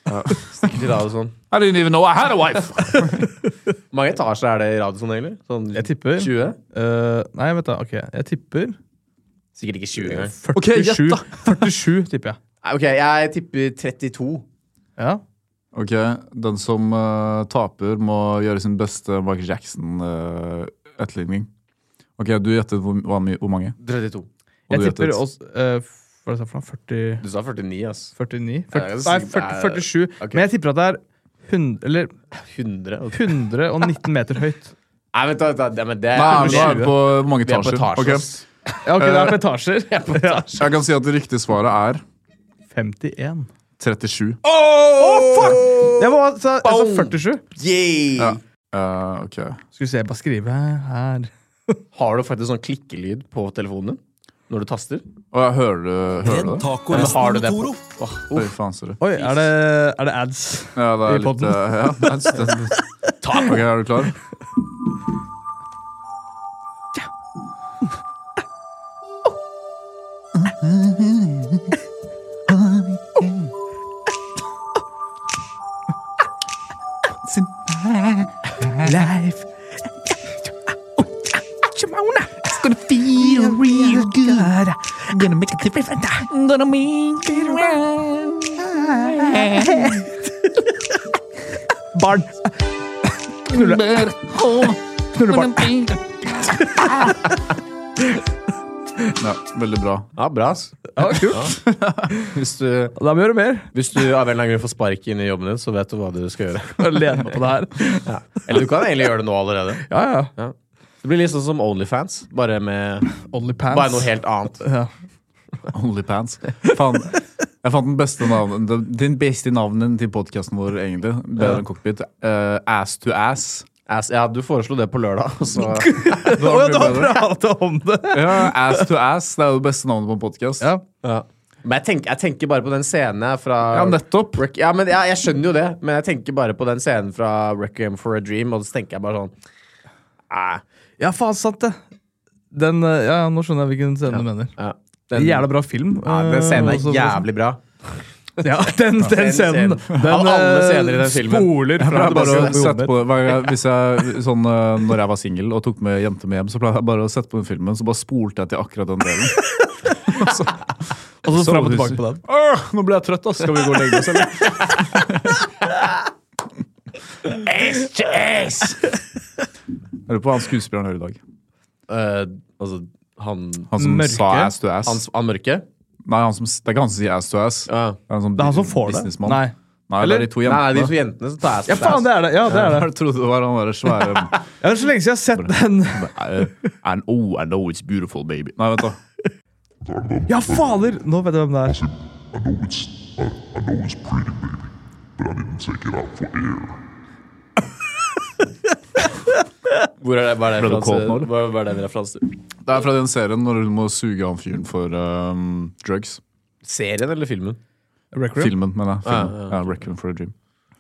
stikker til radio sånn. I didn't even know I had a wife! mange etasjer er det i radioen, egentlig? Sånn Jeg tipper 20? eh, Nei, vent da. Ok, jeg tipper Sikkert ikke 20 engang. 47. Ok, gjett da. 47 tipper jeg. Nei, Ok, jeg tipper 32. Ja. Ok, Den som eh, taper, må gjøre sin beste Michael Jackson-etterligning. ok, du gjettet hvor, hva my- hvor mange? 32. Og Jeg du tipper gjettet- også eh, Hva er det for noe? 40 Du sa 49, ass. 49? Ja, jeg 40, vil nei, si- 40, nei, 47. ok. Men jeg tipper at det er 100, eller 100. og- 119 meter høyt. Nei, vent da, vent da. det- Men Nei, det men nå er vi på hvor mange Vi er på etasjer. etasje, Ok, ass. Ja, ok, det er på etasjer. Ja. Jeg kan si at det riktige svaret er 51. 37. Jeg var altså, altså 47. Yay! Ja. Eh, ok. Skal vi se, bare skrive her. Har du faktisk sånn klikkelyd på telefonen din når du taster? Og jeg hører du, hører du det? Men har du det på? Oi, faen, sorry. Oi, er det, er det ads? Ja, det I er litt podden. eh, ja, det er et sted. Ok, er du klar? Barn! Knulle. Knullebarn. Ja, veldig bra. Ja, bra, ass. Ja, kult. Hvis du, Da må vi gjøre mer. hvis du av en eller annen grunn får spark inn i jobben din, så vet du hva du skal gjøre. Bare lene meg på det her. Eller du kan egentlig gjøre det nå allerede. Ja, ja. Det blir litt sånn som Onlyfans, bare med Onlypants. Bare noe helt annet. Onlypants. Faen. Jeg fant den beste navnen den- Den beste navnen til podkasten vår, egentlig. Bedre enn cockpit. Eh, ass to ass. Ass, ja, du foreslo det på lørdag, og så Det Å var ja, du har mye bedre. pratet om det! Ja, ass to ass. Det er jo det beste navnet på en podkast. Ja. ja. Men jeg tenker, jeg tenker bare på den scenen her fra Ja, nettopp. Rec- Ja, men ja, jeg skjønner jo det, men jeg tenker bare på den scenen fra Requiem for a Dream, og så tenker jeg bare sånn eh, Ja, faen sant det. Den, eh, ja, nå skjønner jeg hvilken scene du mener. ja. En Den, jævla bra film. Eh, ja, den scenen er jævlig bra. Ja, den, den scenen. Den, Av alle eh, scener i den filmen. Spoler Jeg fra pleier bare å tilbake til sette rommet. på hver gang, hvis jeg, sånn, eh, Når jeg var singel og tok med jenter med hjem, så pleier jeg bare å sette på den filmen, så bare spolte jeg til akkurat den delen. Og så fram og Sovehuset. tilbake på den. Åh, nå ble jeg trøtt, ass. Skal vi gå og legge oss, eller? Jeg lurer på hva han skuespilleren gjør i dag. Eh, altså, han Han som Mørke. sa ass to ass. Han, han mørke? Nei, han som, det er ikke han som sier ass to ass. Det Ja. er han som, Det er han som får det. businessmann. Nei. Nei, det er de to jentene. Nei, de to jentene som tar ass. Ja, faen, det er det. Ja, det er det. Jeg trodde det var han der svære Ja, det er så lenge siden jeg har sett den. Eh, And oh, I know it's beautiful, baby. Nei, vent, da. Ja, fader! Nå vet jeg hvem det er. I know it's, I, I know it's pretty, baby, but I didn't take it out for air. Hvor er det, hva er det Ble du referanse? kåt nå, eller? Hva, hva er det en referanse? Det er fra den serien når hun må suge han fyren for um, drugs. Serien eller filmen? Requiem? Filmen, mener jeg. Filmen. Ja, Ja, ja. Requiem for a Dream.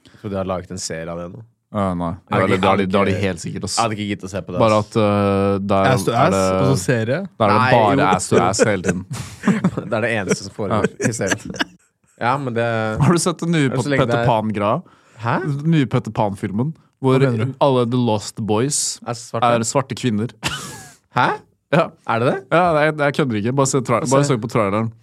Jeg tror de har laget en serie av det nå. Ja, nei, da Jeg er hadde de, ikke- da er de, da er de jeg hadde ikke- helt sikkert ass. Jeg hadde ikke gitt å se på det. Bare ass. at øh, der Ass to ass, og så serie? Der er det Nei, bare jo. ass to ass hele tiden. det er det eneste som foregår i serien. Ja, men det Har du sett den nye Så Pet- lenge det Petter er- Pan-greia? Hæ? Den nye Petter Pan-filmen. Hvor Hva mener du? alle The Lost Boys Er er svarte? svarte, kvinner. Hæ? Ja, Er det det? ja jeg, jeg kødder ikke. Bare, se tra Få se. bare søk på traileren.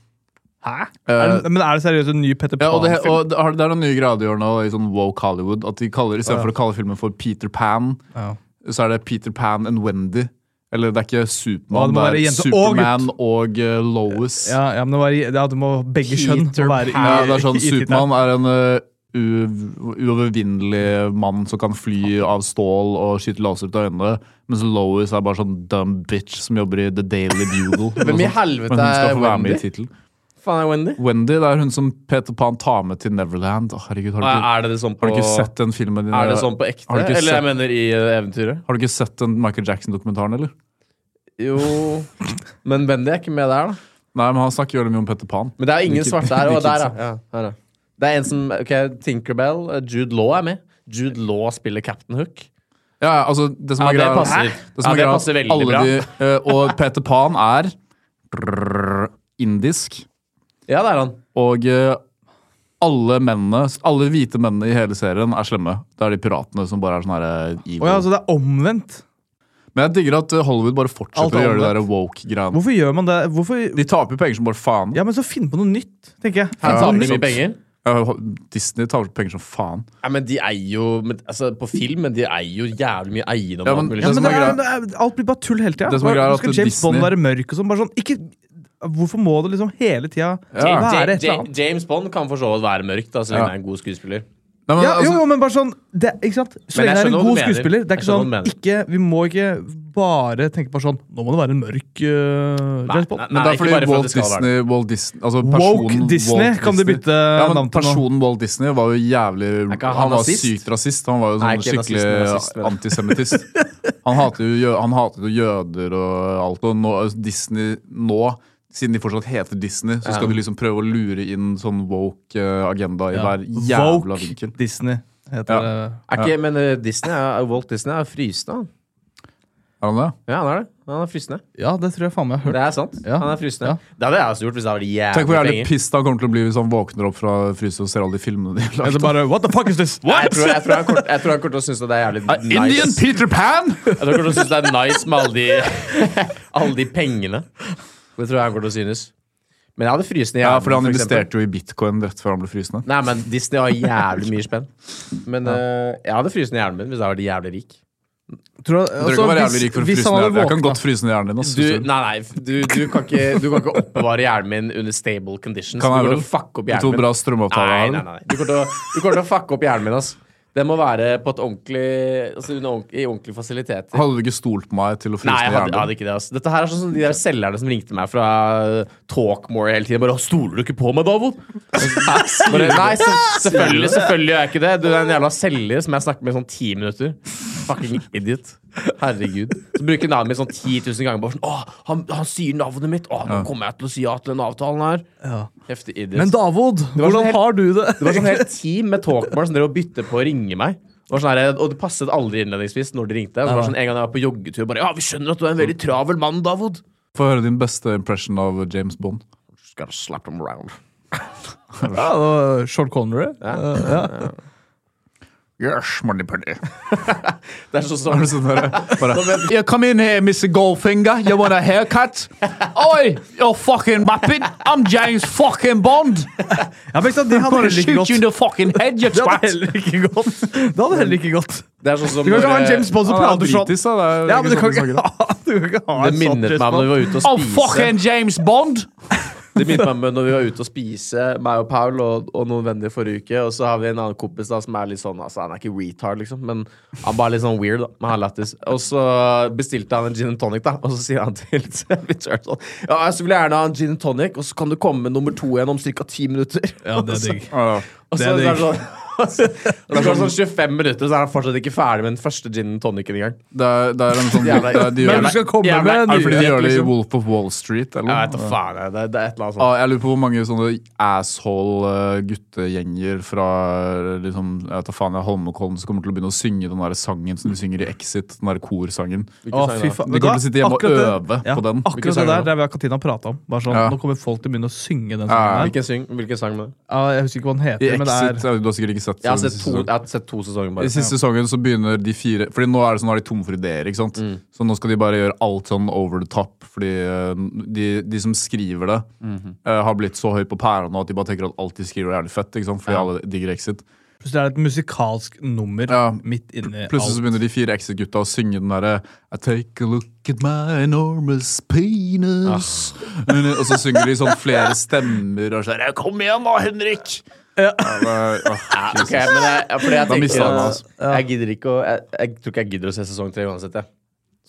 Hæ? Eh, Er det, men er det seriøst en ny Petter Ja, og det, Pan-film? og det har- det er noen nye greier de gjør nå i sånn woke Hollywood. At de kaller, Å, ja. Istedenfor for å kalle filmen for Peter Pan, Ja. så er det Peter Pan and Wendy. Eller det er ikke Å, det Supermann, må det være er jente og Superman og eh, Lois. Ja, ja, men det var, i- ja, det må begge kjønn må være i, Ja, det er sånn i tittelen. Supermann er en eh, u- uovervinnelig mann som kan fly av stål og skyte laser ut av øynene. Mens Lois er bare sånn dumb bitch som jobber i The Daily Bugle. Hvem i helvete Men hun er skal få være med Wendy? i tittelen. Faen, er Wendy? Wendy det er hun som Peter Pan tar med til Neverland. Å, herregud, har du, ikke, Er det det sånn på har du ikke sett den filmen? din? Er det sånn på ekte? Har du ikke Eller sett- jeg mener i eh, eventyret? Har du ikke sett den Michael Jackson-dokumentaren, eller? Jo Men Wendy er ikke med der, da. Nei, men han snakker jo veldig mye om Petter Pan. Men det er ingen Hvilket- svarte her. Og hvilket der, som- da. ja. Her, da. Det er en som Ok, Tinkerbell. eh, Jude Law er med. Jude Law spiller Captain Hook. Ja, ja, altså Det som Ja, er det greia passer. som Ja, er greia det er at passer veldig alle bra. De, eh, og Peter Pan er indisk. Ja, det er han. Og eh, alle mennene, alle hvite mennene i hele serien er slemme. Det er de piratene som bare er sånn her eh, evil. Å ja, altså- så det er omvendt. Men jeg digger at eh, Hollywood bare Alt fortsetter er å gjøre det der omvendt. woke-greiene. Hvorfor gjør man det? Hvorfor... De taper penger som bare faen. Ja, men så finn på noe nytt, tenker jeg. Han Ja, taper ikke mye sant. penger. Ja, Ho- Disney taper penger som faen. sånn- Ja, men de eier jo men, altså, På film, men de eier jo jævlig mye eiendom. Ja, og alt men- mulig ja, Men sånt. som det er er, greia- det er, alt blir bare tull hele tida. Det som er greia er Nå at skal James Disney- Bond være mørk og sånn. Bare sånn ikke, hvorfor må det liksom hele tida Ja, være altså- Ja, et eller Ja, annet? James Bond kan for så vidt være mørk, da, så lenge Ja. han er en god skuespiller. Nei, men, Ja, jo, altså, jo, men bare sånn det, ikke sant? Så lenge det er Men jeg en skjønner hva god du mener. skuespiller. Det er Jeg ikke sånn, skjønner hva du mener. ikke, Vi må ikke bare tenke på sånn Nå må det være en mørk øh, James Bond. men det er Nei, ikke bare fordi for at Walt det skal være Disney, Walt Disney altså Woke personen Disney, Walt kan du Disney- bytte ja, men navn til nå? Personen Walt Disney var jo jævlig ikke han Han var nazist? sykt rasist. Han var jo Nei, sånn ikke nazist, men rasist, skikkelig men- antisemitist. Han hatet jo jø- han hatet jo jøder og alt. Og nå, Disney nå, siden de fortsatt heter Disney, så skal de liksom prøve å lure inn sånn woke eh, agenda i hver jævla Woke vinkel. Disney heter Ja. det. Er ikke, Men eh, Disney er, Walt Disney er frysende. han. Er han det? Ja, han er det. Han er frysende. Ja, det tror jeg faen meg jeg har hørt. Det er sant. Ja. Han er frysende. Ja. Det hadde jeg også gjort hvis jeg hadde Tenk jævlig hvor jævlig penger. pissed han kommer til å bli hvis han våkner opp fra fryset og ser alle de filmene de har Eller lagt. bare What the fuck is this? Nei, What? Jeg tror, jeg, tror han kort, jeg tror han kommer til å synes at det er jævlig nice. Indian Peter Pan! Jeg tror han kommer til å synes det er nice med alle de, alle de pengene. Det tror jeg han kommer til å synes. Men jeg hadde frysende Ja, fordi jævlig, han for eksempel. investerte jo i bitcoin rett før han ble frysende. Nei, men Disney har jævlig mye spenn. Men eh, jeg hadde frysende hjernen min hvis jeg hadde jævlig rik. Tror Jeg du- tror altså, ikke han var jævlig hvis- rik for å hvis fryse han ned hadde hjernen. Jeg kan våkna- godt fryse ned hjernen din. ass, Du, hvis du- nei, nei, du, du, kan ikke, du kan ikke oppbevare hjernen min under stable conditions. Kan jeg du vel? kommer til å fucke opp De to hjernen min. bra strømavtaler Nei, jeg har. nei, nei. Du kommer til å, du kommer til å fucke opp hjernen min, ass. Det må være på et ordentlig, altså, under ordentlig, i ordentlige fasiliteter. Hadde du ikke stolt på meg til å fryse Nei, jeg ned hadde, jeg hjernen hadde din? ikke det. ass. Dette her er sånn som de der selgerne som ringte meg fra eh, Talkmore hele tiden. Bare 'Stoler du ikke på meg, Davon?' Bare, Nei, se, selvfølgelig, selvfølgelig gjør jeg ikke det. Du er en jævla selger som jeg snakker med i sånn ti minutter. Fucking idiot. Herregud. Så bruker navnet mitt sånn 10 000 ganger. Bare sånn, 'Å, han, han sier navnet mitt! Å, nå kommer jeg til å si ja til den avtalen her.' Ja. Heftig idiot. Men Davod, hvordan helt- har du det? Det var sånn helt team med Talkmore som drev og bytte på å ringe meg. Det var sånn her, og det passet aldri innledningsvis når de ringte. Så det var sånn En gang jeg var på joggetur, bare Ja, vi skjønner at du er en veldig Mm. travel mann, Davod. Få høre din beste impression av James Bond. Just gotta slap them around. Ja, det var Sean Connery. Eh, ja. Yes, money penny. Det er sånn sånn Bare, you come in here, Mr. Goldfinger. You want a haircut? Oi, you're fucking muppet. I'm James fucking Bond. ja, men ikke sant, det hadde heller ikke gått. the fucking head, you Det hadde heller ikke gått. Det hadde heller ikke gått. Det er sånn som Du kan ikke ha en når, eh, James Bond som Han er prater sånn. britisk, da. Det Ja, er men du ikke kan sånn vi ikke snakker. ha, du kan ikke ha Det en sånn James minnet meg om Bond. når vi var ute og spise. James Bond! Det minnet meg om når vi var ute og spise, meg og Paul og, og noen venner forrige uke. Og så har vi en annen kompis da som er litt sånn Altså, han er ikke retard, liksom, men han bare litt sånn weird. da Men han er lættis. Og så bestilte han en gin and tonic, da, og så sier han til servitøren sånn Ja, så vil jeg gjerne ha en gin and tonic, og så kan du komme med nummer to igjen om ca. ti minutter. Ja, det er digg. Ja. Og så Det er er det digg. sånn Det er sånn 25 minutter, så er han fortsatt ikke ferdig med den første gin tonicen engang. Det er, det er en sånn Jævla- det er, de gjør, Men du skal komme Jævla- med en Er det fordi de nyhet, gjør det i liksom? Wolf of Wall Street? Eller? Jeg vet da faen, jeg. det, det er et eller annet sånt. Ja, jeg lurer på hvor mange sånne asshole-guttegjenger fra liksom, jeg vet da faen, jeg, Holmenkollen som kommer til å begynne å synge den der sangen som de synger i Exit. Den der korsangen. Å, fy faen. De Vet du hva? kommer til å sitte hjemme og Akkurat det- øve ja, på den. Akkurat det der det er hva Katina prata om. Bare sånn, Ja. Nå kommer folk til å begynne å synge Ja, den sangen. her. Hvilken, syng, hvilken sang med det? Ja, jeg husker ikke hva den I heter, men det er Exit, ja, Du har sikkert ikke sett Jeg har den sett siste to, sesongen. jeg har sett to sesonger I bare. siste sesongen så begynner de fire Fordi nå er det sånn nå er de tom for ideer, ikke sant? Mm. Så nå skal de bare gjøre alt sånn over the top. Fordi eh, de, de som skriver det, Mhm. eh, har blitt så høy på pæra nå at de bare tenker at alt de skriver, er jævlig fett. Ikke sant? Fordi alle digger Exit. Plutselig er det et musikalsk nummer Ja. midt inni Plutselig så alt. begynner de fire Exit-gutta å synge den derre I take a look at my enormous penis Men- Og så synger de sånn flere stemmer og sånn «Ja, Kom igjen da, Henrik! Ja, det er- åh, Jesus. Ok, men jeg, ja, fordi jeg Da mistet tenker han at altså. Jeg gidder ikke å jeg, jeg tror ikke jeg gidder å se sesong tre uansett, jeg.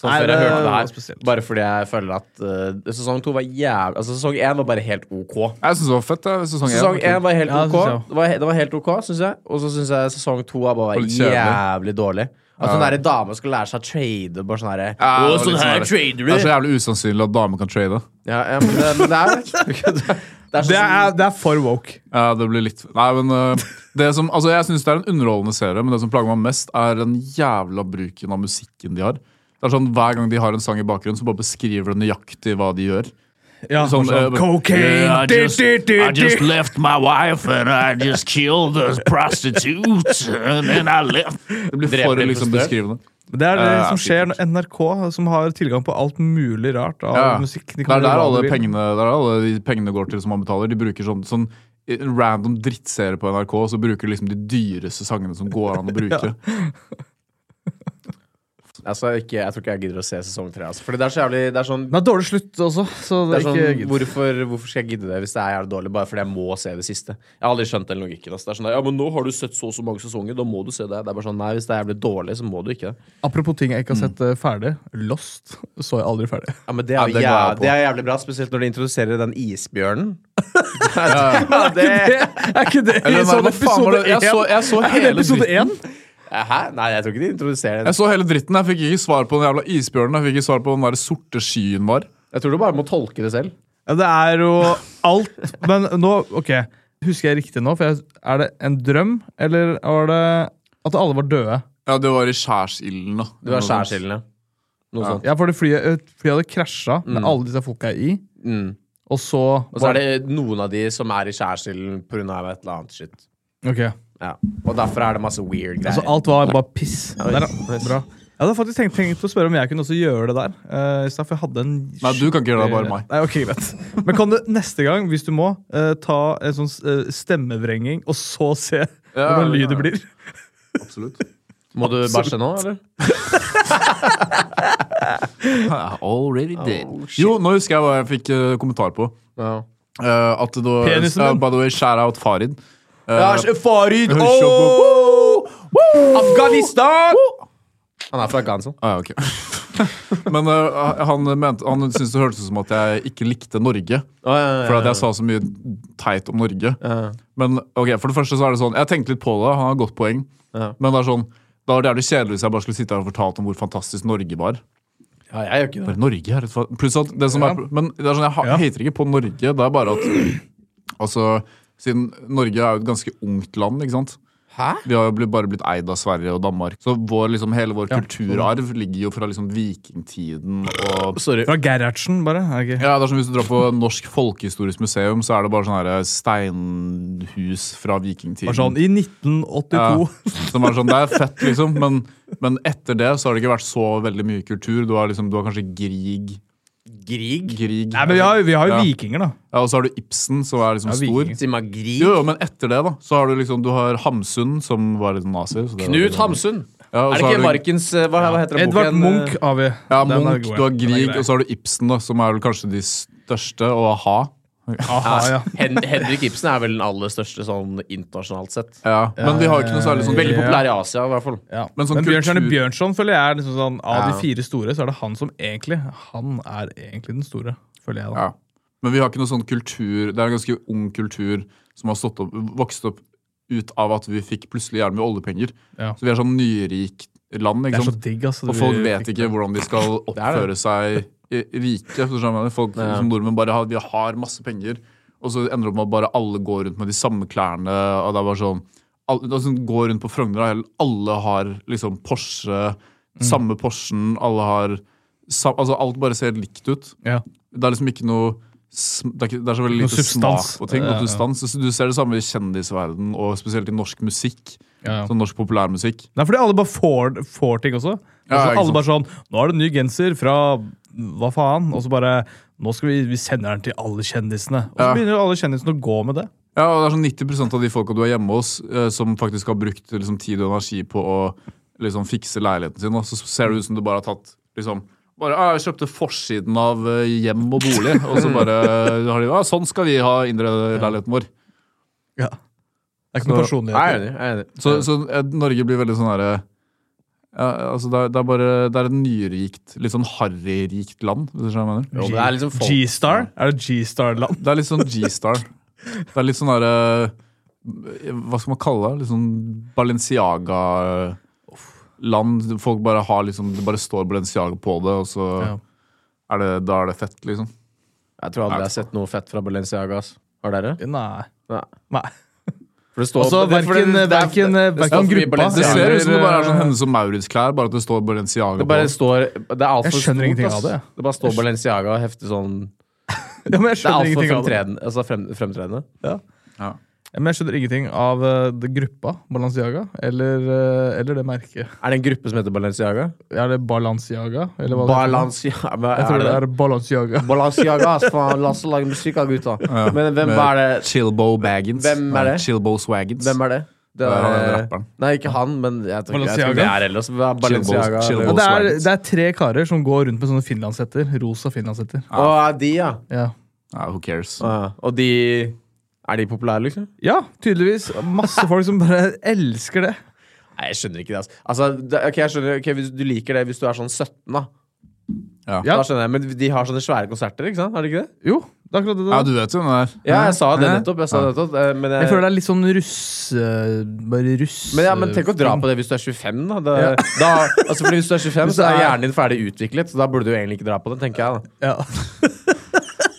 Sånn Nei, det før jeg var hørte det her. spesielt. Bare fordi jeg føler at eh, sesong to var jævlig Altså sesong én var bare helt OK. Jeg syns det var fett. det. Sesong én. Sesong én var helt Ja, det OK. synes jeg også. Det var, he- det var helt OK, syns jeg. Og så syns jeg sesong to er bare Og litt kjedelig. jævlig dårlig. At sånn derre dame skal lære seg å trade. Bare sånn herre Ja, «Å, det var litt sånn der- Det er så jævlig usannsynlig at damer kan trade. Ja, ja, men det, men det er Det er Det sånn er, det er for woke. Ja, det blir litt Nei, men eh, det som, altså, Jeg syns det er en underholdende serie, men det som plager meg mest, er den jævla bruken av musikken de har. Det er sånn, Hver gang de har en sang i bakgrunnen, så bare beskriver det nøyaktig hva de gjør. Ja, Sånn, sånn, eh, cocaine Yeah, I di, just- di, di, I just di. left my wife and I just killed a prostitute and then I left. Det blir Dreper for de liksom, beskrivende. prostituerte? Det er det Eh, som skjer når NRK, som har tilgang på alt mulig rart av Ja. musikk. Det er der alle pengene, det er der alle de pengene går til som man betaler. De bruker sånn, sånn random drittserie på NRK, og så bruker de liksom de dyreste sangene som går an å bruke. altså, ikke, Jeg tror ikke jeg gidder å se sesong tre. Altså. Fordi det er så jævlig Det er sånn, Den er dårlig slutt også, så det det er er sånn ikke hvorfor, hvorfor skal jeg gidde det hvis det er jævlig dårlig? Bare fordi jeg må se det siste. Jeg har aldri skjønt den logikken. Altså. Det er sånn, der, ja, men nå har du sett så og så mange sesonger, da må du se det. Det er bare sånn, Nei, hvis det er jævlig dårlig, så må du ikke det. Apropos ting jeg ikke har sett eh, ferdig. Lost så jeg aldri ferdig. Ja, men det er, Ja, det går jeg jæv- på. det er jævlig bra, spesielt når de introduserer den isbjørnen. ja, det, Er ikke det Eller, i sånn hva faen var episode det? Jeg så, én? jeg så Er ikke det hele episode dritten. én? Hæ? Nei, jeg tror ikke de introduserer den. Jeg så hele dritten, jeg fikk ikke svar på den jævla isbjørnen. Jeg fikk ikke svar på den der sorte skyen var. Jeg tror du bare må tolke det selv. Ja, det er jo alt. Men nå, ok, husker jeg riktig nå? For jeg, er det en drøm, eller var det at alle var døde? Ja, det var i skjærsilden, da. Du er skjærsilden, ja. Noe sånt. Ja, for det flyet, eh, flyet hadde krasja med alle disse folka i, Mm. og så Og så er det noen av de som er i skjærsilden pga. et eller annet shit. Ok, Ja. Og derfor er det masse weird greier. altså alt var bare piss. Oi, Der, oi. ja. Bra. Jeg hadde faktisk tenkt, tenkt å spørre om jeg kunne også gjøre det der. eh, i stedet for jeg hadde en Nei, du kan ikke gjøre det, det er bare meg. Nei, ok, greit. Men kan du neste gang, hvis du må, eh, ta en sånn eh, stemmevrenging, og så se hvordan det- lyd det blir? Absolutt. Må du bæsje nå, eller? Already dead. jo, nå husker jeg hva jeg fikk eh, kommentar på. Oh, Ja. Eh, at det var, Penisen Ja, din. By the way, shout out Farid. Eh, Farid! Hun kjøper- Afghanistan! Han er fra Afghanistan. ah, ja, ok. Men eh, han, mente, han syntes det hørtes ut som at jeg ikke likte Norge. Oh, ja, For at jeg sa så mye teit om Norge. Men ok, for det første så er det sånn Jeg tenkte litt på det, han har godt poeng. Ja. Men det er sånn da var det jævlig kjedelig hvis jeg bare skulle sitte her og fortalt om hvor fantastisk Norge var. ja, jeg gjør ikke det. Bare Norge er et fa- Pluss at det som er Men det er sånn, jeg ha- Ja. hater ikke på Norge. Det er bare at Altså, siden Norge er jo et ganske ungt land, ikke sant? Hæ? Vi har jo blitt, bare blitt eid av Sverige og Danmark. Så vår, liksom, hele vår kulturarv ligger jo fra liksom, vikingtiden og Sorry. Fra Gerhardsen, bare? Er det ikke- ja, det er som Hvis du drar på Norsk folkehistorisk museum, så er det bare sånne her eh, steinhus fra vikingtiden. Bare sånn, I 1982 Ja, som er sånn, Det er fett, liksom, men, men etter det så har det ikke vært så veldig mye kultur. Du har, liksom, du har kanskje Grieg. Grieg? Grieg. Nei, men vi har, vi har jo Ja. vikinger, da. Ja, og så har du Ibsen, som er liksom Ja, stor. viking. Si meg Grieg. Jo, jo, men etter det, da, så har du liksom, du har Hamsun, som var litt nazi. Så det var Knut litt- Hamsun. Ja, og så Er det har ikke du- Markens eh, Hva, hva heter den Edvard boken? Munch har vi. Ja, Den er Munch, god, du har Grieg, Den er grei. og så har du Ibsen, da, som er vel kanskje de største, og a-ha. Aha, Ah, ja. Eh, Hen Henrik Ibsen er vel den aller største sånn internasjonalt sett. Ja, men vi har jo ikke noe særlig sånn Veldig populær i Asia, i hvert fall. ja. Men Men, sånn Bjørnstjerne kultur- Bjørnson føler jeg er liksom sånn av Ja. de fire store, så er det han som egentlig Han er egentlig den store, føler jeg. da. Ja. Men vi har ikke noe sånn kultur Det er en ganske ung kultur som har stått opp, vokst opp ut av at vi fikk plutselig jævlig mye oljepenger. Ja. Så vi er sånn nyrikt land. Det er Ikke så sant? digg, altså, og det folk vi vet fikk ikke hvordan de skal er oppføre det. seg i- rike. så skjønner jeg det. Folk Ja. som nordmenn bare har, vi har masse penger, og så ender det opp med at bare alle går rundt med de samme klærne. og det er bare sånn, alle, altså, Går rundt på Frogner, og alle har liksom Mm. Porsche, samme Porschen, alle har sam, altså Alt bare ser likt ut. Ja. Det er liksom ikke noe sm- det er, ikke, det er så veldig Noe lite smak substans. på ting. Ja, ja. Noe substans. Så Du ser det samme i kjendisverden og spesielt i norsk musikk. Ja, ja. Sånn norsk populærmusikk. Det er fordi alle bare får, får ting også. Ja, altså, ikke alle sant. bare sånn Nå er det en ny genser fra hva faen? Og så bare Nå skal vi, vi sender den til alle kjendisene. Og så Ja. begynner jo alle kjendisene å gå med det. Ja, og det er sånn 90 av de folka du er hjemme hos, eh, som faktisk har brukt liksom, tid og energi på å liksom, fikse leiligheten sin, da, så ser det ut som du bare har tatt liksom, bare, ah, Jeg kjøpte forsiden av eh, hjem og bolig, og så bare har de ah, Sånn skal vi ha innredet leiligheten vår. Det er ikke noe Så- personlighet. i det. Så, så eh, Norge blir veldig sånn herre ja, altså det, er, det er bare Det er et nyrikt, litt sånn harryrikt land, hvis du skjønner hva jeg mener. Jo, det er liksom folk- G-Star? Er det G-Star-land? Det er litt sånn G-star. Det er litt sånn herre Hva skal man kalle det? Litt sånn Balenciaga-land. Folk bare har liksom Det bare står Balenciaga på det, og så Ja. er det, da er det fett, liksom. Jeg tror aldri jeg har sett noe fett fra Balenciaga. ass. Har dere? Nei. Nei. Nei. For det står Altså, det- for det- hverken- det- det- hverken- eh, det- det står hverken for mye gruppa- Det Balenciaga. ser ut som det bare er sånn Hennes og Maurits-klær, bare at det står Balenciaga Det bare på. står Det er alt Jeg for skjønner stort, ingenting ass. av det. Det bare står Balenciaga og hefter sånn Ja, men jeg Det er skjønner alt for ingenting av det. fremtredende. Altså frem, fremtredende. Ja. Ja, Men jeg skjønner ingenting av eh, det gruppa Balenciaga, eller, eh, eller det merket. Er det en gruppe som heter Balenciaga? Er det Balenciaga? Eller hva det heter? Balenciaga Jeg tror det er Balenciaga. Balenciaga, ass, faen. La oss lage musikk av gutta. Ja, Men hvem med er det? Chilbo Baggins. Hvem er det? Chilbo Swaggins. Hvem er det? Det Det er han er, der rapperen. nei, ikke han, men jeg tror ikke jeg tror Balenciaga? ikke det er ellers. Hva er Balenciaga. Chilbo- Chilbo. Og det, er, Swaggins. det er tre karer som går rundt med sånne finlandshetter. Rosa finlandshetter. Å, er de, ja. Ja. Ja, who cares? Å, Og de Er de populære, liksom? ja, tydeligvis. Masse folk som bare elsker det. Nei, jeg skjønner ikke det. Altså. Altså, det ok, jeg skjønner, ok, hvis Du liker det hvis du er sånn 17, da. Ja. Da skjønner jeg, Men de har sånne svære konserter, ikke sant? Har de ikke det? Jo, det er akkurat det. det Ja, er. du vet jo hvem det er. Ja, jeg sa det Hæ? nettopp. Jeg sa det nettopp eh, men, jeg, Jeg føler det er litt sånn russe... Bare russe... men, ja, men tenk å dra på det hvis du er 25, da. Det, da altså, fordi hvis du er 25, så er hjernen din ferdig utviklet, så da burde du egentlig ikke dra på det, tenker jeg. Da, Ja.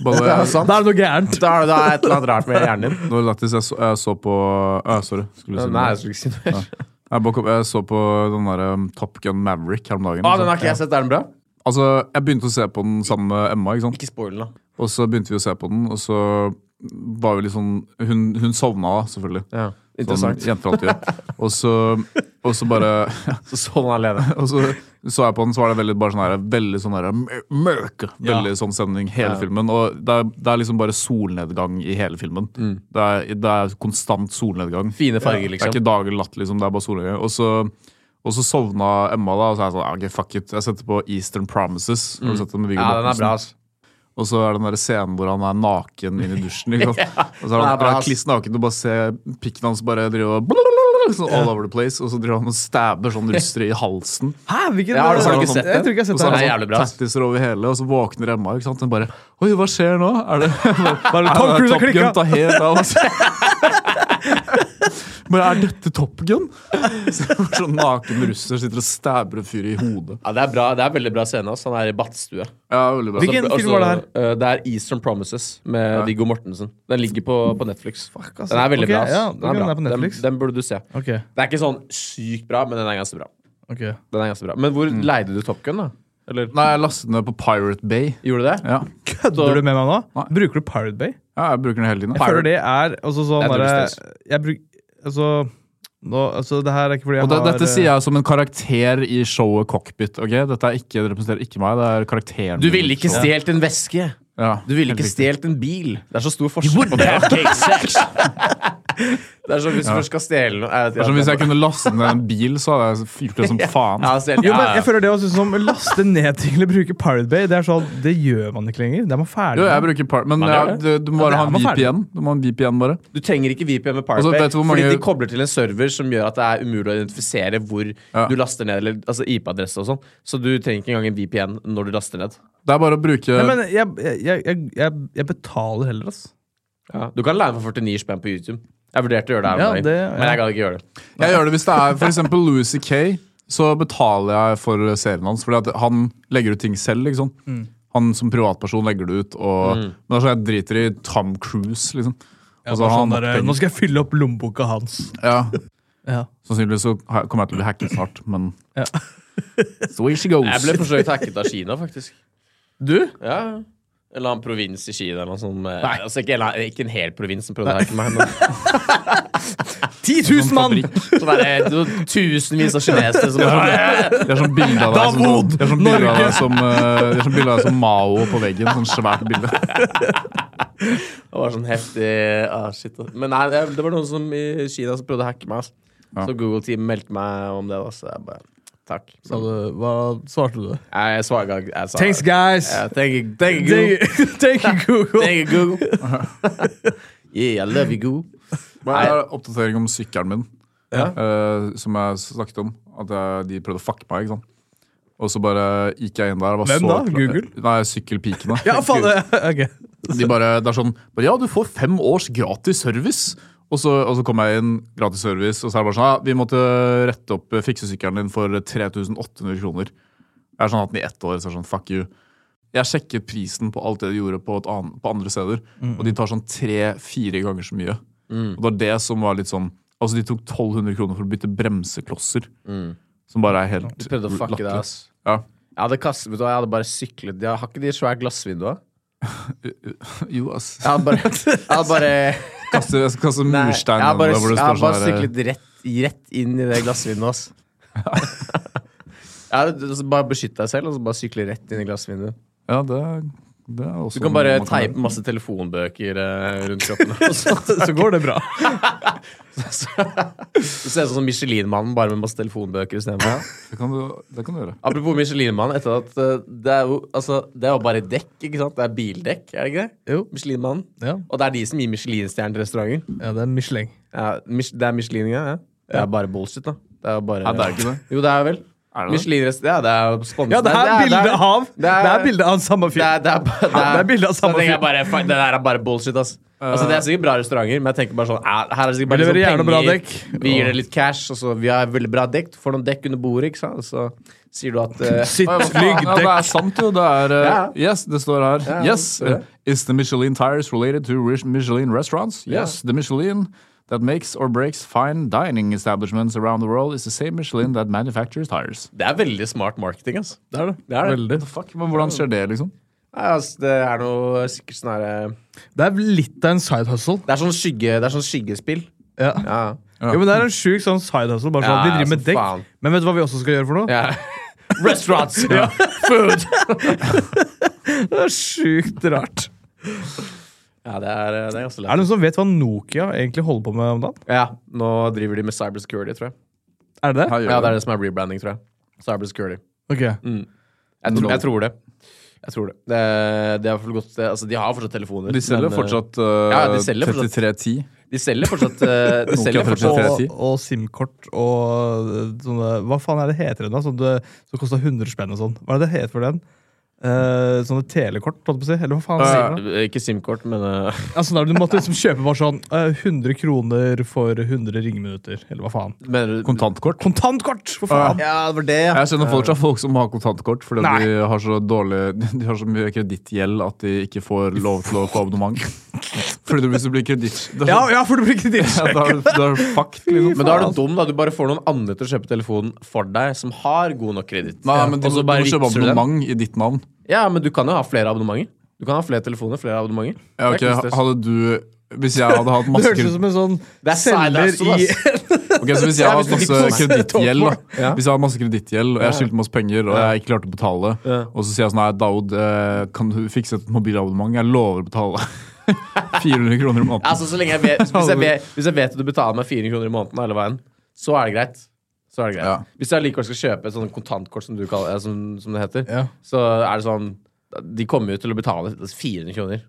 By the way, jeg- Da er det noe gærent. da er det da er et eller annet rart med hjernen din. Det var lættis. Jeg, så- jeg så på Ø, Sorry. Skulle du si Nei, noe? jeg skulle ikke si noe. Jeg, bare kom, jeg så på den der um, Top Gun Maverick her om dagen. Å, den har ikke jeg sett. Er den bra? Altså, jeg begynte å se på den sammen med Emma, ikke sant? Ikke spoil den, da. og så begynte vi å se på den, og så var vi litt sånn Hun, hun sovna, da, selvfølgelig. Ja, interessant. Sånn, jenter alltid gjør. Og så, og så bare Så så den alene. Og så så jeg på den, så var det veldig, bare sånn her, veldig sånn her mø- mørke. Veldig sånn stemning hele filmen. Og det er, det er liksom bare solnedgang i hele filmen. Det, er, det er konstant solnedgang. Mm. Fine farger, Det er liksom. ikke dag eller natt, liksom. Det er bare solnedgang. Og så, og så sovna Emma, da, og så er jeg sånn ah, OK, fuck it. Jeg setter på Eastern Promises. Har du sett den med Viggo Mm. Ja, den er Mortensen? bra, ass. Og så er det den der scenen hvor han er naken inn i dusjen. Ikke sant? Og så er han, det er bra, han er ass. kliss naken og bare ser pikken hans bare driver og blablabla, sånn all over the place, og så driver han og stabber sånn russere i halsen. Hæ, hvilken... Ja, har du- jeg, har tror du ikke sett ikke Og jeg har sett så er det det. Det er sånn jævlig bra, ass. tattiser over hele, og så våkner Emma. ikke sant? Hun bare Oi, hva skjer nå? Er det, Bare, er Tom det Cruise Top Gun? har klikket. Ta helt av, altså. Bare, er dette Top Gun? Så jeg får sånn naken russer sitter og stabber en fyr i hodet. Ja, det er bra. Det er veldig bra scene, ass. Han er i badstue. Altså, Ja, veldig bra. Hvilken film var det her? eh, det er Eastern Promises med Viggo Mortensen. Den ligger på, på Netflix. ass. Den er veldig Ok, bra. ass. ja, den, er den bra. er på Netflix. Den, den burde du se. Ok, Det er ikke sånn sykt bra, men den er ganske bra. ok. Den er ganske bra. Men hvor leide du Top Gun, da? Eller Nei, jeg lastet den ned på Pirate Bay. gjorde du det? Ja. Kødder du med meg nå? Nei. Bruker du Pirate Bay? ja, jeg bruker den hele tiden. Jeg føler det er altså sånn Jeg tror bare det er stress. Jeg bruk... Altså, nå, altså Det her er ikke fordi jeg Og det, har dette eh, sier jeg som en karakter i showet Cockpit. ok? Dette er ikke, det representerer ikke meg, det er karakteren. Du min ville i ikke showet. stjålet en veske. Ja, Du ville helt ikke riktig. stjålet en bil. Det er så stor forskjell på det. det er sånn hvis du først skal stjele noe Det er som Hvis jeg kunne laste ned en bil, så hadde jeg gjort det som faen. ja, stjelt- Jo, ja, men ja. jeg føler det å synes som laste ned ting eller bruke Pirate Bay, det er sånn, det gjør man ikke lenger. Det er man ferdig Jo, jeg med. bruker par, Men Man ja, gjør det. du, du må bare det ha er en man ferdig. VPN. Du må ha en VPN bare. Du trenger ikke VPN med Pirate Altså, Bay, vet du hvor fordi mange- de kobler til en server som gjør at det er umulig å identifisere hvor Ja. du laster ned, eller altså IP-adresse og sånn. Så du trenger ikke engang en VPN når du laster ned. Det er bare å bruke Nei, men jeg, jeg, jeg, jeg, jeg betaler heller, ass. Du kan lære for 49 spenn på YouTube. Jeg vurderte å gjøre det her om Ja, dagen, det- ja. men jeg gadd ikke gjøre det. Jeg gjør det hvis det er for eksempel Louis C.K. Så betaler jeg for serien hans, Fordi at han legger ut ting selv. liksom Mm. Han som privatperson legger det ut. Og, Mm. Men det er sånn jeg driter i Tom Cruise, liksom. Ja, Og så bare har han sånn nok der, penger. nå skal jeg fylle opp lommeboka hans. ja. Ja. Sannsynligvis så har- kommer jeg til å bli hacket snart, men So here she goes. Jeg ble forsøkt hacket av Kina, faktisk. Du? Ja. Eller annen provins i Kina. Eller noe sånt, eh, Nei. altså, ikke, en, ikke en hel provins som prøvde å hacke meg. Men 10 000 mann! så var det noen tusenvis av kinesere som var sånn Det er sånn bilde av deg som, sånn, det er sånn bilde av deg som, eh, det er sånn bilde av deg som Mao på veggen. Sånn svært bilde. Det var sånn heftig ah, shit. da. Men nei, det, det var noen som i Kina som prøvde å hacke meg. ass. Ja. Så Google Team meldte meg om det. Da, så jeg bare Takk. Sa du, hva svarte du? Jeg, jeg, svarer ikke, jeg sa Thanks, guys! Ja, thank you, thank you, Thank Google. Thank you, Google. Thank you, Google. yeah, I love you, Google. Men jeg har oppdatering om sykkelen min, Ja. eh, som jeg snakket om. At jeg, de prøvde å fucke meg. ikke sant? Og så bare gikk jeg inn der. og var så Hvem da? klar- Google? Nei, Sykkelpikene. Ja, faen, det- ok. De bare, det er sånn bare, Ja, du får fem års gratis service. Og så, og så kom jeg inn, gratis service, og så er det bare sånn ja, Vi måtte rette opp eh, fiksesykkelen din for 3800 kroner. Jeg har sånn hatt den i ett år, så er det sånn fuck you. Jeg sjekket prisen på alt det de gjorde på, et annet, på andre steder, Mm. og de tar sånn tre-fire ganger så mye. Mm. Og det var det som var litt sånn Altså, de tok 1200 kroner for å bytte bremseklosser, Mm. som bare er helt De prøvde å fucke deg, latterlig. ass. Ja. Jeg hadde kastet meg ut, og jeg hadde bare syklet. Jeg har ikke de svære glassvinduene? Jo, ass. Jeg hadde bare, jeg hadde bare Kaste, jeg skal kaste Nei, murstein Jeg har bare, der hvor det jeg har står bare sånn her, syklet rett, rett inn i det glassvinduet, ass. Jeg hadde- altså, bare beskytt deg selv, og så bare sykle rett inn i glassvinduet. Ja, det, er- det er også Du kan noe bare man kan teipe gjøre. masse telefonbøker eh, rundt kroppen. og Så, Så går det bra. Du ser ut som Michelin-mannen, bare med masse telefonbøker istedenfor. Det kan, du, det kan du gjøre. Apropos Michelin-mannen, etter at eh, det er jo altså, det er jo bare dekk, ikke sant? Det er bildekk, er det ikke det? Jo. Michelin-mannen. Og det er de som gir Michelin-stjerner til restauranter. Ja, det er Michelin. Ja, Mich det er Michelin, ja. ja. Det er bare bullshit, da. Det er jo bare Ja, det er ikke det. Jo, det er vel. Er det det? Michelin-rest Ja, det er jo sponset. Ja, det er bilde av Det er bilde av samme fyr. Det er, det er, Ja, det er bilde av samme Da tenker jeg fyr. bare, fuck, Det der er bare bullshit, ass. Altså, det er sikkert bra restauranter, men jeg tenker bare sånn eh, Her er det sikkert bare Vi leverer gjerne bra dekk. Vi gir deg litt cash, og så vi har veldig bra dekk. Du får noen dekk under bordet, ikke sant. Så sier du at eh, Sitt, Ja, hva faen? flygg, Ja, det dekk. er sant, jo. Det er eh, Ja. Yes, det står her. Ja, yes. eh, det er det. Is the Michelin tires related to ris- Michelin restaurants? Ja. Yes. The Michelin that makes or breaks fine dining establishments around the world is the same Michelin that manufactures tires. Det er veldig smart marketing, ass. Det er det. Det er det. Veldig. Fuck, men hvordan skjer det, liksom? Nei, altså, det er noe sikkert sånn herre Det er litt av en side hustle. Det er sånn skygge, det er sånn skyggespill. Ja. Ja. Jo, men Det er en sjuk sånn side hustle. Bare sånn, Ja, Vi driver med som dekk, faen. men vet du hva vi også skal gjøre for noe? ja. Restaurants! Food! det er sjukt rart. Ja, det er, eh, det er ganske Er det lett. noen som vet hva Nokia egentlig holder på med om dagen? Ja, nå driver de med cybersecurity, tror jeg. Er det det? Her gjør Ja, det vi er det som er rebranding, tror jeg. Cybersecurity. Ok. Jeg, tror- jeg tror det. Jeg tror det. det, det har vel gått, altså, de har fortsatt telefoner. De selger men, eh, fortsatt Ja, de selger fortsatt. 3310. De selger fortsatt, eh, de Nokia selger fortsatt 3310. Og, og SIM-kort og eh, sånne Hva faen er det heter den da? Sånn det- Som kosta 100 spenn og sånn. Hva er det det heter for den? Eh, sånne telekort, holdt jeg på å si. Eller hva faen sier man? Eh, Ikke SIM-kort, men eh, Altså, der du måtte liksom kjøpe bare sånn eh, 100 kroner for 100 ringeminutter. Eller hva faen. mener du- Kontantkort. Kontantkort! For faen! Ja, det var det, ja. Jeg kjenner fortsatt folk som har kontantkort fordi Eh. Nei. de har så dårlig De har så mye kredittgjeld at de ikke får lov til å få abonnement. Fordi hvis du blir kreditt... det er Ja, sånn- ja, for du blir Ja, ikke da er du- dritsjekk. da er du fucked, liksom. Men da er du dum, da. Du bare får noen andre til å kjøpe telefonen for deg, som har god nok kreditt. Nei, men du, Og så må- du bare må kjøpe vippser du den. abonnement i ditt navn. Ja, men du kan jo ha flere abonnementer. Du kan ha flere telefoner, flere abonnementer. Ja, Det er ok, ikke noe stress. hadde du Hvis jeg hadde hatt Det masse høres ut kreditt som en sånn Det er side selger hustle, i ass. Ok, så Hvis jeg hadde hatt hvis du masse fikk sånn kredittgjeld, da. Ja. Hvis jeg hadde masse kredittgjeld, og jeg skyldte masse penger, og jeg ikke klarte å betale, Ja. og så sier jeg sånn Nei, Daoud, eh, kan du fikse et mobilabonnement? Jeg lover å betale 400 kroner i måneden. Altså, så lenge jeg vet, hvis, jeg vet, hvis jeg vet at du betaler meg 400 kroner i måneden hele veien, så er det greit. Så er det greit. Ja. Hvis jeg likevel skal kjøpe et sånt kontantkort, som, du kaller, eh, som, som det heter, Ja. så er det sånn De kommer jo til å betale 400 kroner.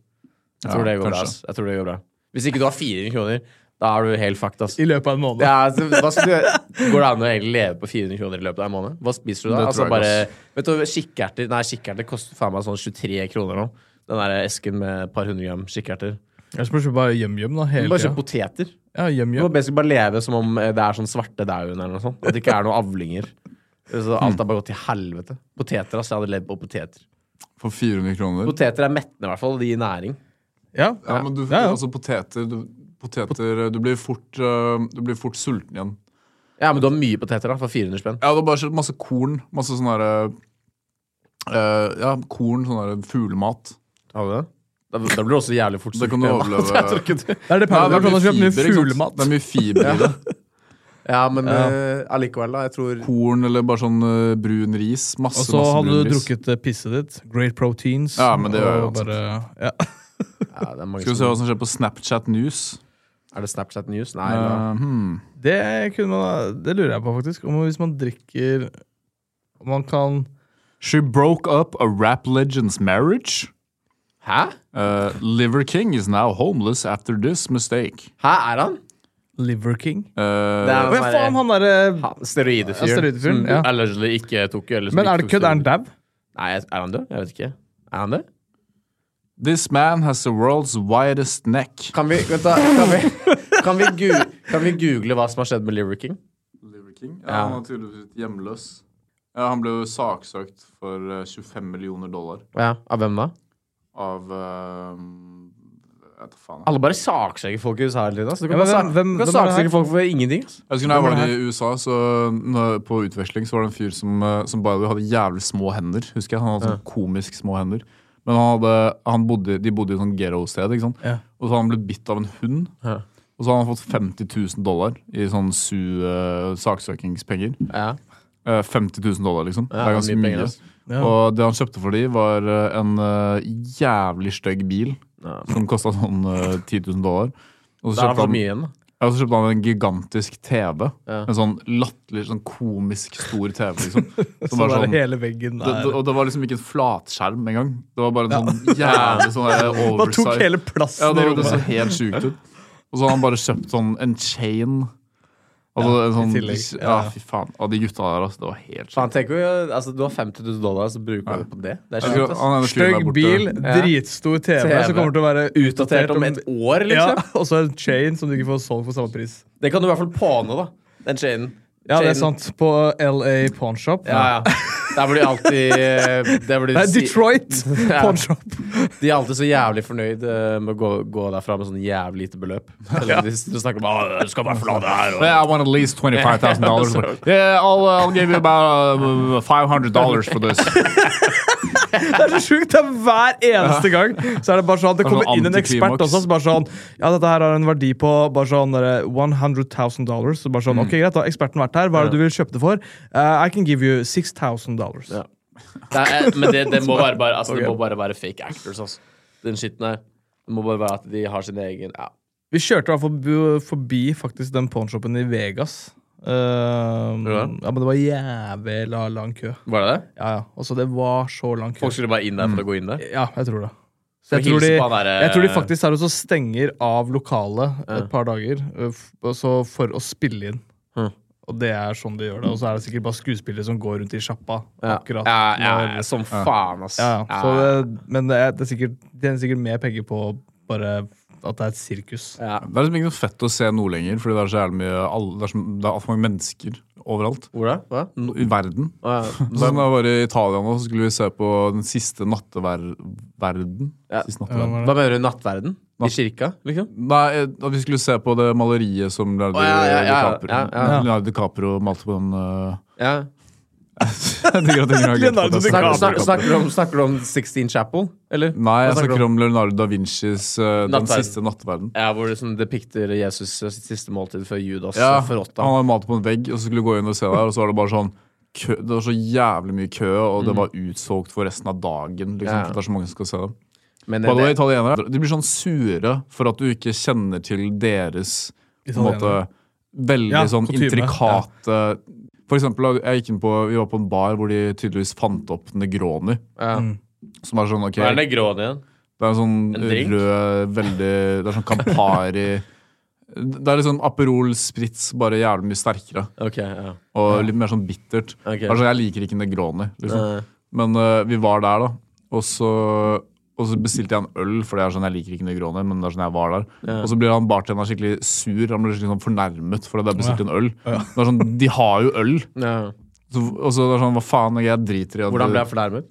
Jeg tror, Ja, det går bra, kanskje. ass. jeg tror det går bra. Hvis ikke du har 400 kroner, da er du helt fucked, ass. I løpet av en måned. Ja, altså, hva skal du gjøre? Går det an å egentlig leve på 400 kroner i løpet av en måned? Hva spiser du da? Det Altså tror jeg bare, vet du, kikkerter Nei, kikkerter koster faen meg sånn 23 kroner nå. Den der esken med et par hundre gram kikkerter. Jeg spørs bare gjem-gjem, da. Du Hele må bare tida. kjøpe poteter. Du må basically bare leve som om eh, det er sånn svartedauden eller noe sånt. At det ikke er noen avlinger. Så alt har bare gått til helvete. Poteter, ass. Jeg hadde levd på poteter. For 400 kroner? Poteter er mettende, i hvert fall. og De gir næring. Ja, men du, altså poteter, du, poteter du, blir fort, øh, du blir fort sulten igjen. Ja, men du har mye poteter da, for 400 spenn. Ja, det var bare så- masse korn. Masse sånn derre øh, Ja, korn, sånn derre fuglemat. Har du det? Da, da blir du også jævlig fort Det kan du igjen, da. overleve. Jeg tror ikke du- er det Paul- Nei, Paul har kjøpt mye fiber, ikke sant? fuglemat. Det er mye fiber i det. Ja, men Ja. eh, allikevel, da. Jeg tror Korn eller bare sånn øh, brun ris. Masse, Og så masse hadde brun du ris. drukket eh, pisset ditt. Great proteins. Ja, men det gjør jeg og uansett. bare- ja. ja, det er mange Skal vi se hva som skjer på Snapchat News. Er det Snapchat News? Nei. da. Eh, hmm. det, kunne man, det lurer jeg på, faktisk. Om hvis man drikker Om man kan She broke up a rap legend's marriage. Hæ? Uh, Liver King is now homeless after this mistake. Hæ, er han? Eh, Liver King? Uh, Det er Å ja, faen, han derre han steroidefyren. Mm. Ja, steroidefyren, som ja. allegedly ikke tok eller som Men er ikke det tok kødd? Er han steroid. dau? Nei, er han død? Jeg vet ikke. Er han død? This man has the world's widest neck. Kan vi, vent da, kan vi, kan vi, gu, kan vi google hva som har skjedd med Liver King? Liver King? Ja, Han var tydeligvis hjemløs. Ja, han ble jo saksøkt for eh, 25 millioner dollar Ja, Av hvem da? av eh, Jeg vet da faen. Alle bare saksøker folk i USA hele tiden. ass. Du kan, Ja, men bare hvem- sa- hvem- du kan hvem er det her? saksøke folk for ingenting. ass. Jeg husker når jeg Hvem er var det i USA, så når, på utveksling, så var det en fyr som, eh, som bare hadde jævlig små hender. husker jeg. Han hadde sånn komisk små hender. Men han hadde, han bodde, de bodde i et sånt ghetto-sted, ikke sant? Ja. og så hadde han blitt bitt av en hund. Ja. Og så hadde han fått 50 000 dollar i sånn su-saksøkingspenger. Ja. Eh, 50 000 dollar, liksom. Ja, det er ganske mye mye. penger, altså. ass. Ja. Og det han kjøpte for de, var eh, en eh, jævlig stygg bil Ja. som kosta sånn eh, 10 000 dollar. Og så Da er det kjøpte, for han, mye igjen, da. ja, så kjøpte han en gigantisk TV. Ja. En sånn latterlig, sånn komisk stor TV, liksom. Som Så var der sånn det, hele veggen det, der. og det var liksom ikke en flatskjerm engang. Det var bare en sånn jævlig sånn der Man oversight. tok hele Ja, plassen det, i var- det så rommet. helt sjukt ut. Og så hadde han bare kjøpt sånn en chain. Altså en sånn, tillegg, ja. ja. fy faen. Og de gutta der, altså. Det var helt sjukt. Faen, tenk å, altså, Du har 50 000 dollar, så bruker du det på det. Jeg Det er husker sjukt, at ass. han ene fyren der Stygg borte- bil, dritstor TV, TV. som kommer til å være Utdatert om et år, Ja, liksom. og så en chain som du ikke får solgt for samme pris. Det kan du i hvert fall påne, da. Den chainen. Ja, det er Chainen. sant. På LA Pawnshop. Ja, ja. Der blir de alltid eh, der blir de Nei, si- Detroit Ja. Pawnshop. De er alltid så jævlig fornøyd eh, med å gå, gå derfra med sånn jævlig lite beløp. Eller de, de snakker om «Ah, du skal bare forlate her. Og, Yeah, I want at least twenty-five thousand dollars. Yeah, I'll, uh, I'll give you about uh, five hundred dollars for this. Det er så sjukt! det er Hver eneste gang Så er det bare sånn Det Det er kommer sånn inn en ekspert antiklimaks. også, så bare sånn Ja, dette her har en verdi på bare sånn der, 100 000 dollars. Så bare sånn, ok, greit, da har eksperten vært her. Hva er det du vil kjøpe det for? «Eh, I can give you 6000 dollars. Ja. det er, eh, men det, det, må være bare, altså, det må bare være fake actors, altså. Den skitten her. Det må bare være at de har sin egen ja. Vi kjørte i hvert fall bu- forbi faktisk den pawnshopen i Vegas. Ehm, Ja. ja, men det var jævla lang kø. Var det det? Ja, ja. Altså, det var så lang kø. Folk skulle bare inn der for å gå inn der? Ja, jeg tror det. Så For å jeg, tror de, hilse på han der, eh, jeg tror de faktisk er også stenger av lokalet et par dager ø, f- og så for å spille inn. Hm. Og det er sånn de gjør det. Og så er det sikkert bare skuespillere som går rundt i sjappa. Ja. akkurat Ja, ja, når- ja, som faen, ass. Ja, ja. Så det, men det er, det, er sikkert, det er sikkert mer penger på bare at det er et sirkus. Ja. Det er liksom ikke noe fett å se noe lenger, fordi det er så jævlig mye alle, det, er så, det er altfor mange mennesker overalt. Hvor da? Hva? Nå- I verden. Å, Så da jeg var i Italia nå, så skulle vi se på den siste natteverden. Ja. Siste natteverden. ja. Hva mener du? Nattverden? Natt- I kirka, liksom? Nei, eh, da vi skulle se på det maleriet som Leonardo Å, ja, ja, ja, DiCaprio, ja, ja. Leonardo DiCaprio malte på den eh, Ja. jeg tenker at ingen har glemt Leonardo på det. Snakker, snak, snakker, du om, snakker du om Sixteen Chapel, eller? Nei, Hva jeg snakker om Leonardo da Vincis eh, Den Nattverden. siste natteverden. Ja, hvor det sånn depikter Jesus eh, sitt siste måltid før Judas Ja, ja. forrådte han ham. hadde mat på en vegg, og så skulle du gå inn og se der, og så var det bare sånn kø, Det var så jævlig mye kø, og det var utsolgt for resten av dagen. Liksom, Mm. Ja. for det er så mange som skal se dem. Men By the way, det, italienere de blir sånn sure for at du ikke kjenner til deres på en måte, Italienere. veldig Ja, sånn kutyme. intrikate For eksempel, jeg gikk inn på, vi var på en bar hvor de tydeligvis fant opp Negroni. ja. Mm. Som er sånn, ok Hva er negron igjen? det er en sånn En drink? rød, veldig Det er sånn Campari Det er litt sånn Aperol Spritz, bare jævlig mye sterkere. Ok, ja. Og litt mer sånn bittert. Ok. Eh, Altså, jeg liker ikke Negroni, liksom. Nei. Men eh, vi var der, da. Og så Og så bestilte jeg en øl, for det er sånn jeg liker ikke Negroni. Men det er sånn jeg var der Og så blir han bartenderen skikkelig sur. Han blir skikkelig sånn fornærmet for at jeg bestilte Ja. en øl. Ja. Det er sånn, De har jo øl! Så, og så det er sånn, hva faen, jeg driter i at Hvordan du- ble jeg fornærmet?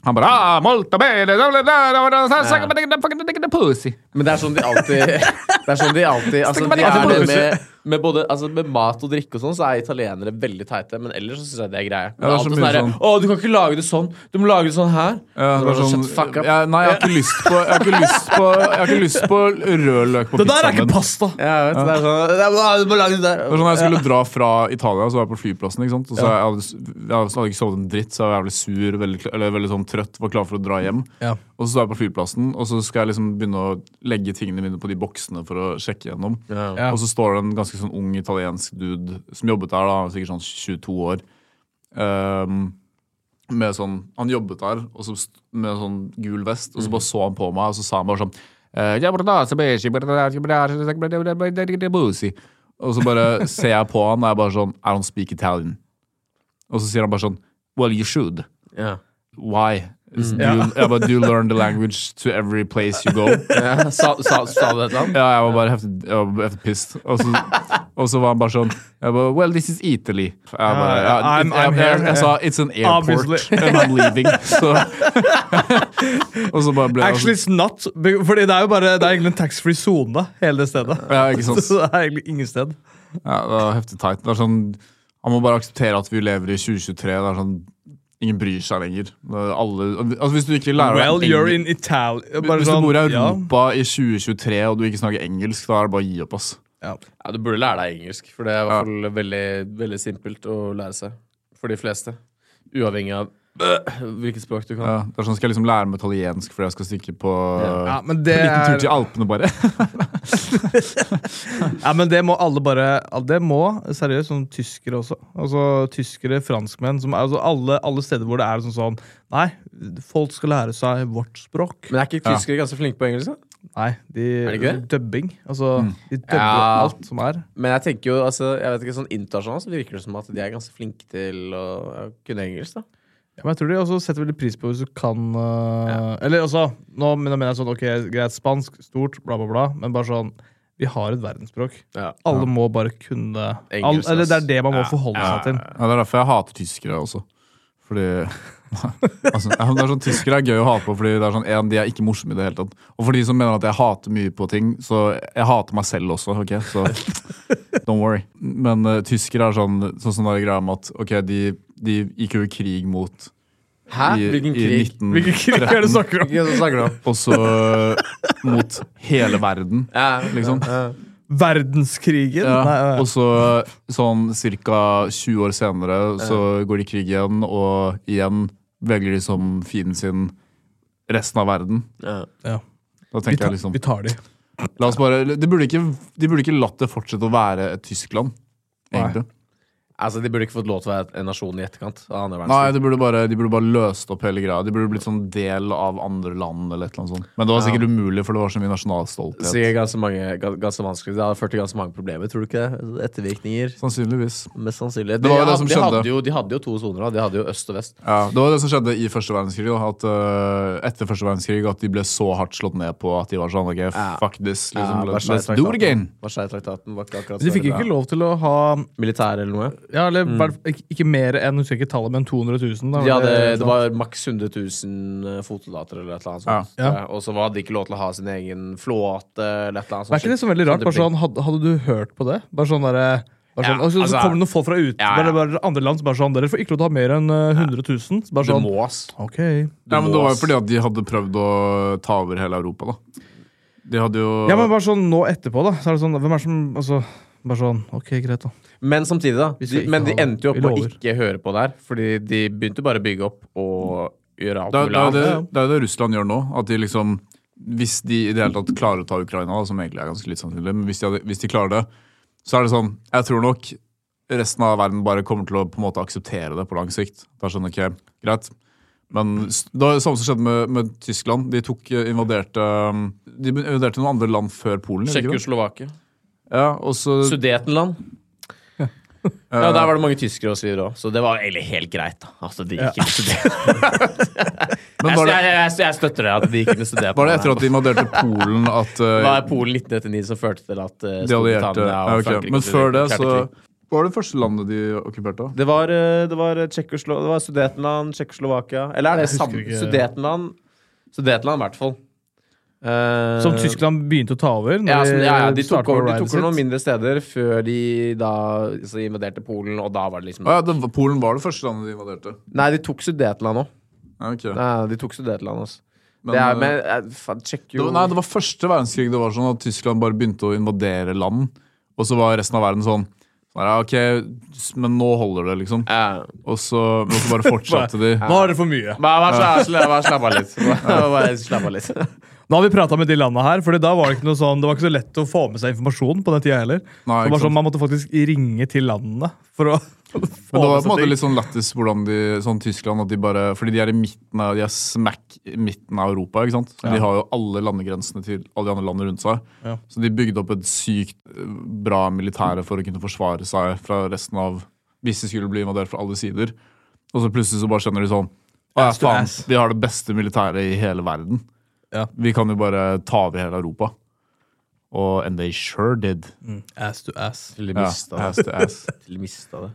Han bare ah, molto bene, da, da, da, da, da, da, suck my dick, da, fucking dick, da, pussy. Men det er sånn de alltid Det er sånn de alltid altså, Stikker meg de litt er i det pose. med, med, både, altså, med mat og drikke og sånn, så er italienere veldig teite. Men ellers så syns jeg det er greie. Ja, det er så alltid mye derre, sånn- Å, du kan ikke lage det sånn! Du må lage det sånn her! Ja, Så det var bare, sånn, Shut the fuck up. jeg, nei, jeg har ikke lyst på Jeg har ikke lyst på, jeg har ikke lyst på rødløk på pizzaen Det der er ikke min. pasta. Ja, jeg vet, det er sånn, det er, «Å, du må lage det der. Det var sånn Jeg skulle dra fra Italia, så var jeg på flyplassen. ikke sant? Og så jeg hadde, jeg hadde ikke sovet en dritt, så jeg var jævlig sur veldig, kl- eller veldig sånn trøtt. Var klar for å dra hjem. Ja. Og så står jeg på flyplassen, og så skal jeg liksom begynne å legge tingene mine på de boksene for å sjekke gjennom. Ja. Og så står det en ganske sånn ung italiensk dude som jobbet der, da, han var sikkert sånn 22 år. Ehm, med sånn, Han jobbet der og så st- med sånn gul vest, og så bare så han på meg, og så sa han bare sånn eh, «Ja, brada, så blir jeg ikke brada, så blir jeg ikke brada, så blir jeg ikke busi». Og så bare ser jeg på han, og jeg bare sånn I don't speak Italian. Og så sier han bare sånn Well, you should. sånn- Why? Is- Mm. Do you, Ja. jeg bare, Do you learn the language to every place you go? Ja, sa- sa- sa du det til han? Ja, jeg var bare heftig, jeg var heftig pissed. Og så, og så var han bare sånn jeg bare, Well, this is Italy. Jeg, bare, Ja, ja, ja, I'm- jeg, I'm jeg, here. jeg sa It's an airport Obviously. and I'm leaving. Så, og så bare ble jeg Actually, it's not. be- Fordi det er jo bare, det er egentlig en taxfree sone, hele det stedet. Ja, ikke sant. Så det er egentlig ingen sted. Ja, det var heftig teit. Det er sånn, han må bare akseptere at vi lever i 2023. Det er sånn, Ingen bryr seg lenger. Det er Alle, altså hvis du ikke lærer deg Well, you're engel- in sånn, Italy. Hvis du bor i Europa i 2023 og du ikke snakker engelsk, da er det bare å gi opp. ass. Ja, du burde lære deg engelsk, for det er i hvert fall veldig, veldig simpelt å lære seg. For de fleste. Uavhengig av hvilket språk du kan. Ja, det er sånn, Skal jeg liksom lære meg italiensk fordi jeg skal stikke på Ja, men det en liten er- tur til Alpene, bare? Ja, men det må alle bare Det må, seriøst, sånn tyskere også. Altså Tyskere, franskmenn som, altså, alle, alle steder hvor det er sånn sånn Nei, folk skal lære seg vårt språk. Men er ikke tyskere ganske flinke på engelsk? da? Nei, de Er det ikke det? Dubbing. Altså, Mm. de dubber Ja. alt som er. Men jeg tenker jo, altså, jeg vet ikke, sånn internasjonalt så virker det som at de er ganske flinke til å ja, kunne engelsk. da. Ja, men jeg tror de også setter veldig pris på hvis du kan øh, Eller også, nå men- da mener jeg sånn ok, greit, spansk, stort, bla, bla, bla, men bare sånn Vi har et verdensspråk. Alle må bare kunne Engelsk, all, Eller det ass. er det man må Ja, forholde ja, seg til. Ja, Det er derfor jeg hater tyskere også. Fordi altså, ja, men det er sånn, Tyskere er gøy å hate på, fordi det er sånn, en, de er ikke morsomme i det hele tatt. Og for de som mener at jeg hater mye på ting, så jeg hater meg selv også. ok? Så don't worry. Men eh, tyskere er sånn sånn som det er greia med at ok, de, de gikk jo i krig mot Hæ? I, Hvilken i krig? 1913. Hvilken krig er det du snakker om? Hvilken er det du snakker om? Og så mot hele verden, liksom. Verdenskrigen? Ja, Nei, øh, Og så sånn ca. 20 år senere så går de i krig igjen, og igjen velger de som fienden sin resten av verden. Ja. Da vi, tenker tar, jeg liksom vi tar de. La oss bare, de, burde ikke, de burde ikke latt det fortsette å være et Tyskland, egentlig. Altså, De burde ikke fått lov til å være en nasjon i etterkant. av andre Nei, verdenskrig. de burde, bare, de burde bare løst opp hele greia. De burde blitt sånn del av andre land. eller et eller annet sånt. Men det var Ja. sikkert umulig, for det var så mye nasjonalstolthet. Sikkert ganske, mange, ga- ganske vanskelig. Det hadde ført til ganske mange problemer, tror du ikke det? Ettervirkninger. Sannsynligvis. Mest sannsynlig. Det var jo de, det som de, skjedde. hadde jo, de hadde jo to soner, da. De hadde jo øst og vest. Ja, Det var det som skjedde i første verdenskrig. Da, at eh, Etter første verdenskrig at de ble så hardt slått ned på at de var sånn OK, fuck this. Liksom, let's, let's do it again. Versailles-traktaten var ikke akkurat De fikk ikke lov til å ha Militær eller noe? ja, eller, Mm. hvert- ikke, ikke mer enn husker jeg ikke tallet, men 200 000. Da, sånn. De hadde, eller- det var maks 100 000 fotodater eller et eller annet sånt. Ja. Ja. Og så var- hadde de ikke lov til å ha sin egen flåte eller et eller annet Er sånt. ikke det så veldig rart? Bare sånn, hadde, hadde du hørt på det? Bare sånn derre bare Ja, sånn, og så, så altså- kommer det noen folk fra ute, Ja, ja. Bare, bare andre land som bare sånn Dere får ikke lov til å ha mer enn eh, 100 000. Så bare Du sånn, må, ass. Ok. Ja, men Det var jo fordi at de hadde prøvd å ta over hele Europa, da. De hadde jo Ja, men bare sånn nå etterpå, da. Så er det sånn, hvem er det som altså, Bare sånn, ok, greit, da. Men samtidig, da. skal De, ikke men de ha det. endte jo Vi opp med å lover. ikke høre på der. Fordi de begynte bare å bygge opp og gjøre alt Det er det, er mulig det, annet. det, er det Russland gjør nå. At de liksom Hvis de i det hele tatt klarer å ta Ukraina, da, som egentlig er ganske litt sannsynlig, men hvis de, hadde, hvis de klarer det, så er det sånn Jeg tror nok resten av verden bare kommer til å på en måte akseptere det på lang sikt. Det er sånn, ok, greit. Men s- det var det samme som skjedde med, med Tyskland. De tok eh, invaderte um, De invaderte noen andre land før Polen. gjorde de ikke det? Tsjekkoslovakia. Ja, og så Sudetenland. Ja, Der var det mange tyskere og så videre òg, så det var egentlig helt greit. da. Altså, de gikk Ja. inn og studerte. Men Jeg, var det- jeg, jeg, jeg støtter det, at de gikk inn og studerte. Var det etter at de invaderte Polen at Det var eh, Polen 1999 som førte til at eh, de allierte Storbritannia og ja, ok. Frankrike Men før det, klarte så krig. Hva var det første landet de okkuperte? Det var, eh, det var, Tjekkoslo- det var Sudetenland, Tsjekkoslovakia Eller er det Jeg husker samme? ikke. Sudetenland, Sudetenland i hvert fall. Eh, Som Tyskland begynte å ta over? når ja, som, ja, ja, de startet tok over, de rivalryet tok over noen sitt. mindre steder før de da så invaderte Polen, og da var det liksom Å ja, det, var- Polen var det første landet de invaderte. Nei, de tok Sudetenland òg. Ja, ok. Nei, de tok Sudetenland også. Men, det eh, er, men eh, faen, sjekk Det jo var, nei, det var første verdenskrig det var sånn at Tyskland bare begynte å invadere land. Og så var resten av verden sånn sånn, ja, Ok, s- men nå holder det, liksom. Og så, og så bare fortsatte de. Nå er det for mye. Bare, bare, slapp- slapp- bare slapp av litt. Bare, bare slapp av litt. Nå har vi prata med de landa her, Fordi da var det ikke noe sånn Det var ikke så lett å få med seg informasjon på den tida heller. Nei, det ikke var sant. sånn Man måtte faktisk ringe til landene for å få Men det var med på seg en måte ting. litt sånn lættis hvordan de Sånn Tyskland at de bare Fordi de er i midten av De er smack i midten av Europa, ikke sant? Så Ja. De har jo alle landegrensene til alle de andre landene rundt seg. Ja. Så de bygde opp et sykt eh, bra militære for å kunne forsvare seg fra resten av Hvis de skulle bli invadert fra alle sider. Og så plutselig så bare skjønner de sånn Å ja, Ass to faen. ass." Vi har det beste militæret i hele verden. Ja. Vi kan jo bare ta over hele Europa. Og and they sure did. Mm, Ass to ass. Til de Ja, mista det. ass to ass. Til de mista det.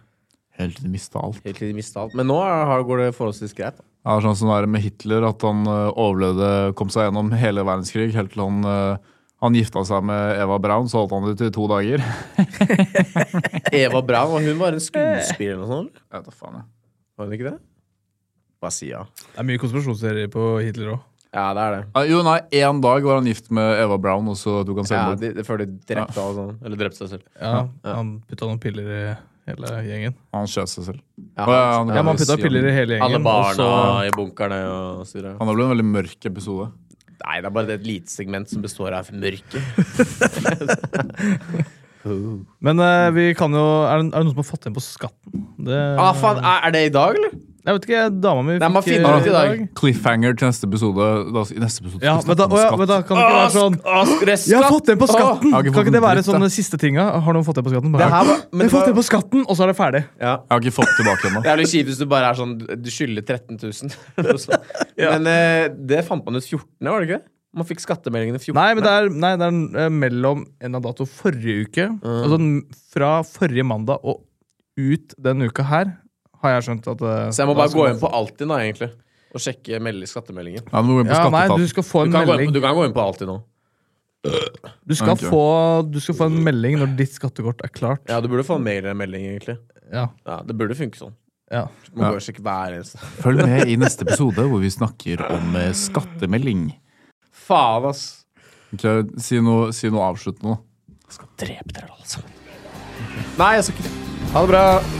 Helt til de mista alt. Helt til de mista alt. Men nå er- har, går det forholdsvis greit. Da. Ja, sånn som det er med Hitler, at han eh, overlevde, kom seg gjennom hele verdenskrig, helt til han, eh, han gifta seg med Eva Braun, så holdt han ut i to dager. Eva Braun, og hun var en skuespiller eller noe sånt? eller? Jeg vet da faen, jeg. Var hun ikke det? Bare si ja. Det er mye konspirasjonsserier på Hitler òg. Ja, det er det. Ja, Jo, nei, én dag var han gift med Eva Braun, og så tok han Ja, selvmord. de, de, før de drepte alle sånn. Eller drepte seg selv. Ja, han putta noen piller i hele gjengen. Han skjøt seg selv. Å, Ja, ja, han- han- Ja, Man putta piller i hele gjengen. Alle og barna så- i bunkerne og så videre. Han ble en veldig mørk episode. Nei, det er bare et lite segment som består av mørke. Men eh, vi kan jo er det, er det noen som har fått igjen på skatten? Det, Ah, faen, er, er det i dag, eller? Jeg vet ikke, dama mi Nei, man fikk finner eh, ut i dag. Cliffhanger til neste episode. Da, I neste episode skal Ja, vi men snakke da, om å, ja, skatt. men da kan det Ah, ikke være sånn Jeg har fått den på skatten! Jeg har ikke Kan fått ikke det en være dritt, sånn da. den siste tinga? Har noen fått den på skatten? Det Bare, her var- jeg men det har fått var- den på skatten, og så er det ferdig. Ja. Jeg har ikke fått tilbake ennå. Det er litt kjipt hvis du bare er sånn Du skylder 13 000. eller noe sånt. Men eh, det fant man ut 14., var det ikke det? Man fikk skattemeldingene 14. Nei, men det er, nei, det er eh, mellom en av dato forrige uke Mm. Altså n- fra forrige mandag og ut denne uka her, har jeg skjønt at eh, Så jeg må da bare skal gå man- inn på Altinn da, egentlig, og sjekke melde skattemeldinger. Ja, du må gå inn på Ja, nei, du skatteetaten. skal få Du en kan, gå inn, melding. på- du kan gå inn på Altinn nå. Du skal, Ok. få, du skal få en melding når ditt skattekort er klart. Ja, du burde få en mail eller en melding, egentlig. Ja, Ja, Det burde funke sånn. ja. Du må Ja. gå og sjekke hver eneste Følg med i neste episode, hvor vi snakker om eh, skattemelding. Faen, ass. Ok, si noe, si noe avsluttende, da. Drep dere alle sammen. Nei, jeg skal ikke det. Ha det bra.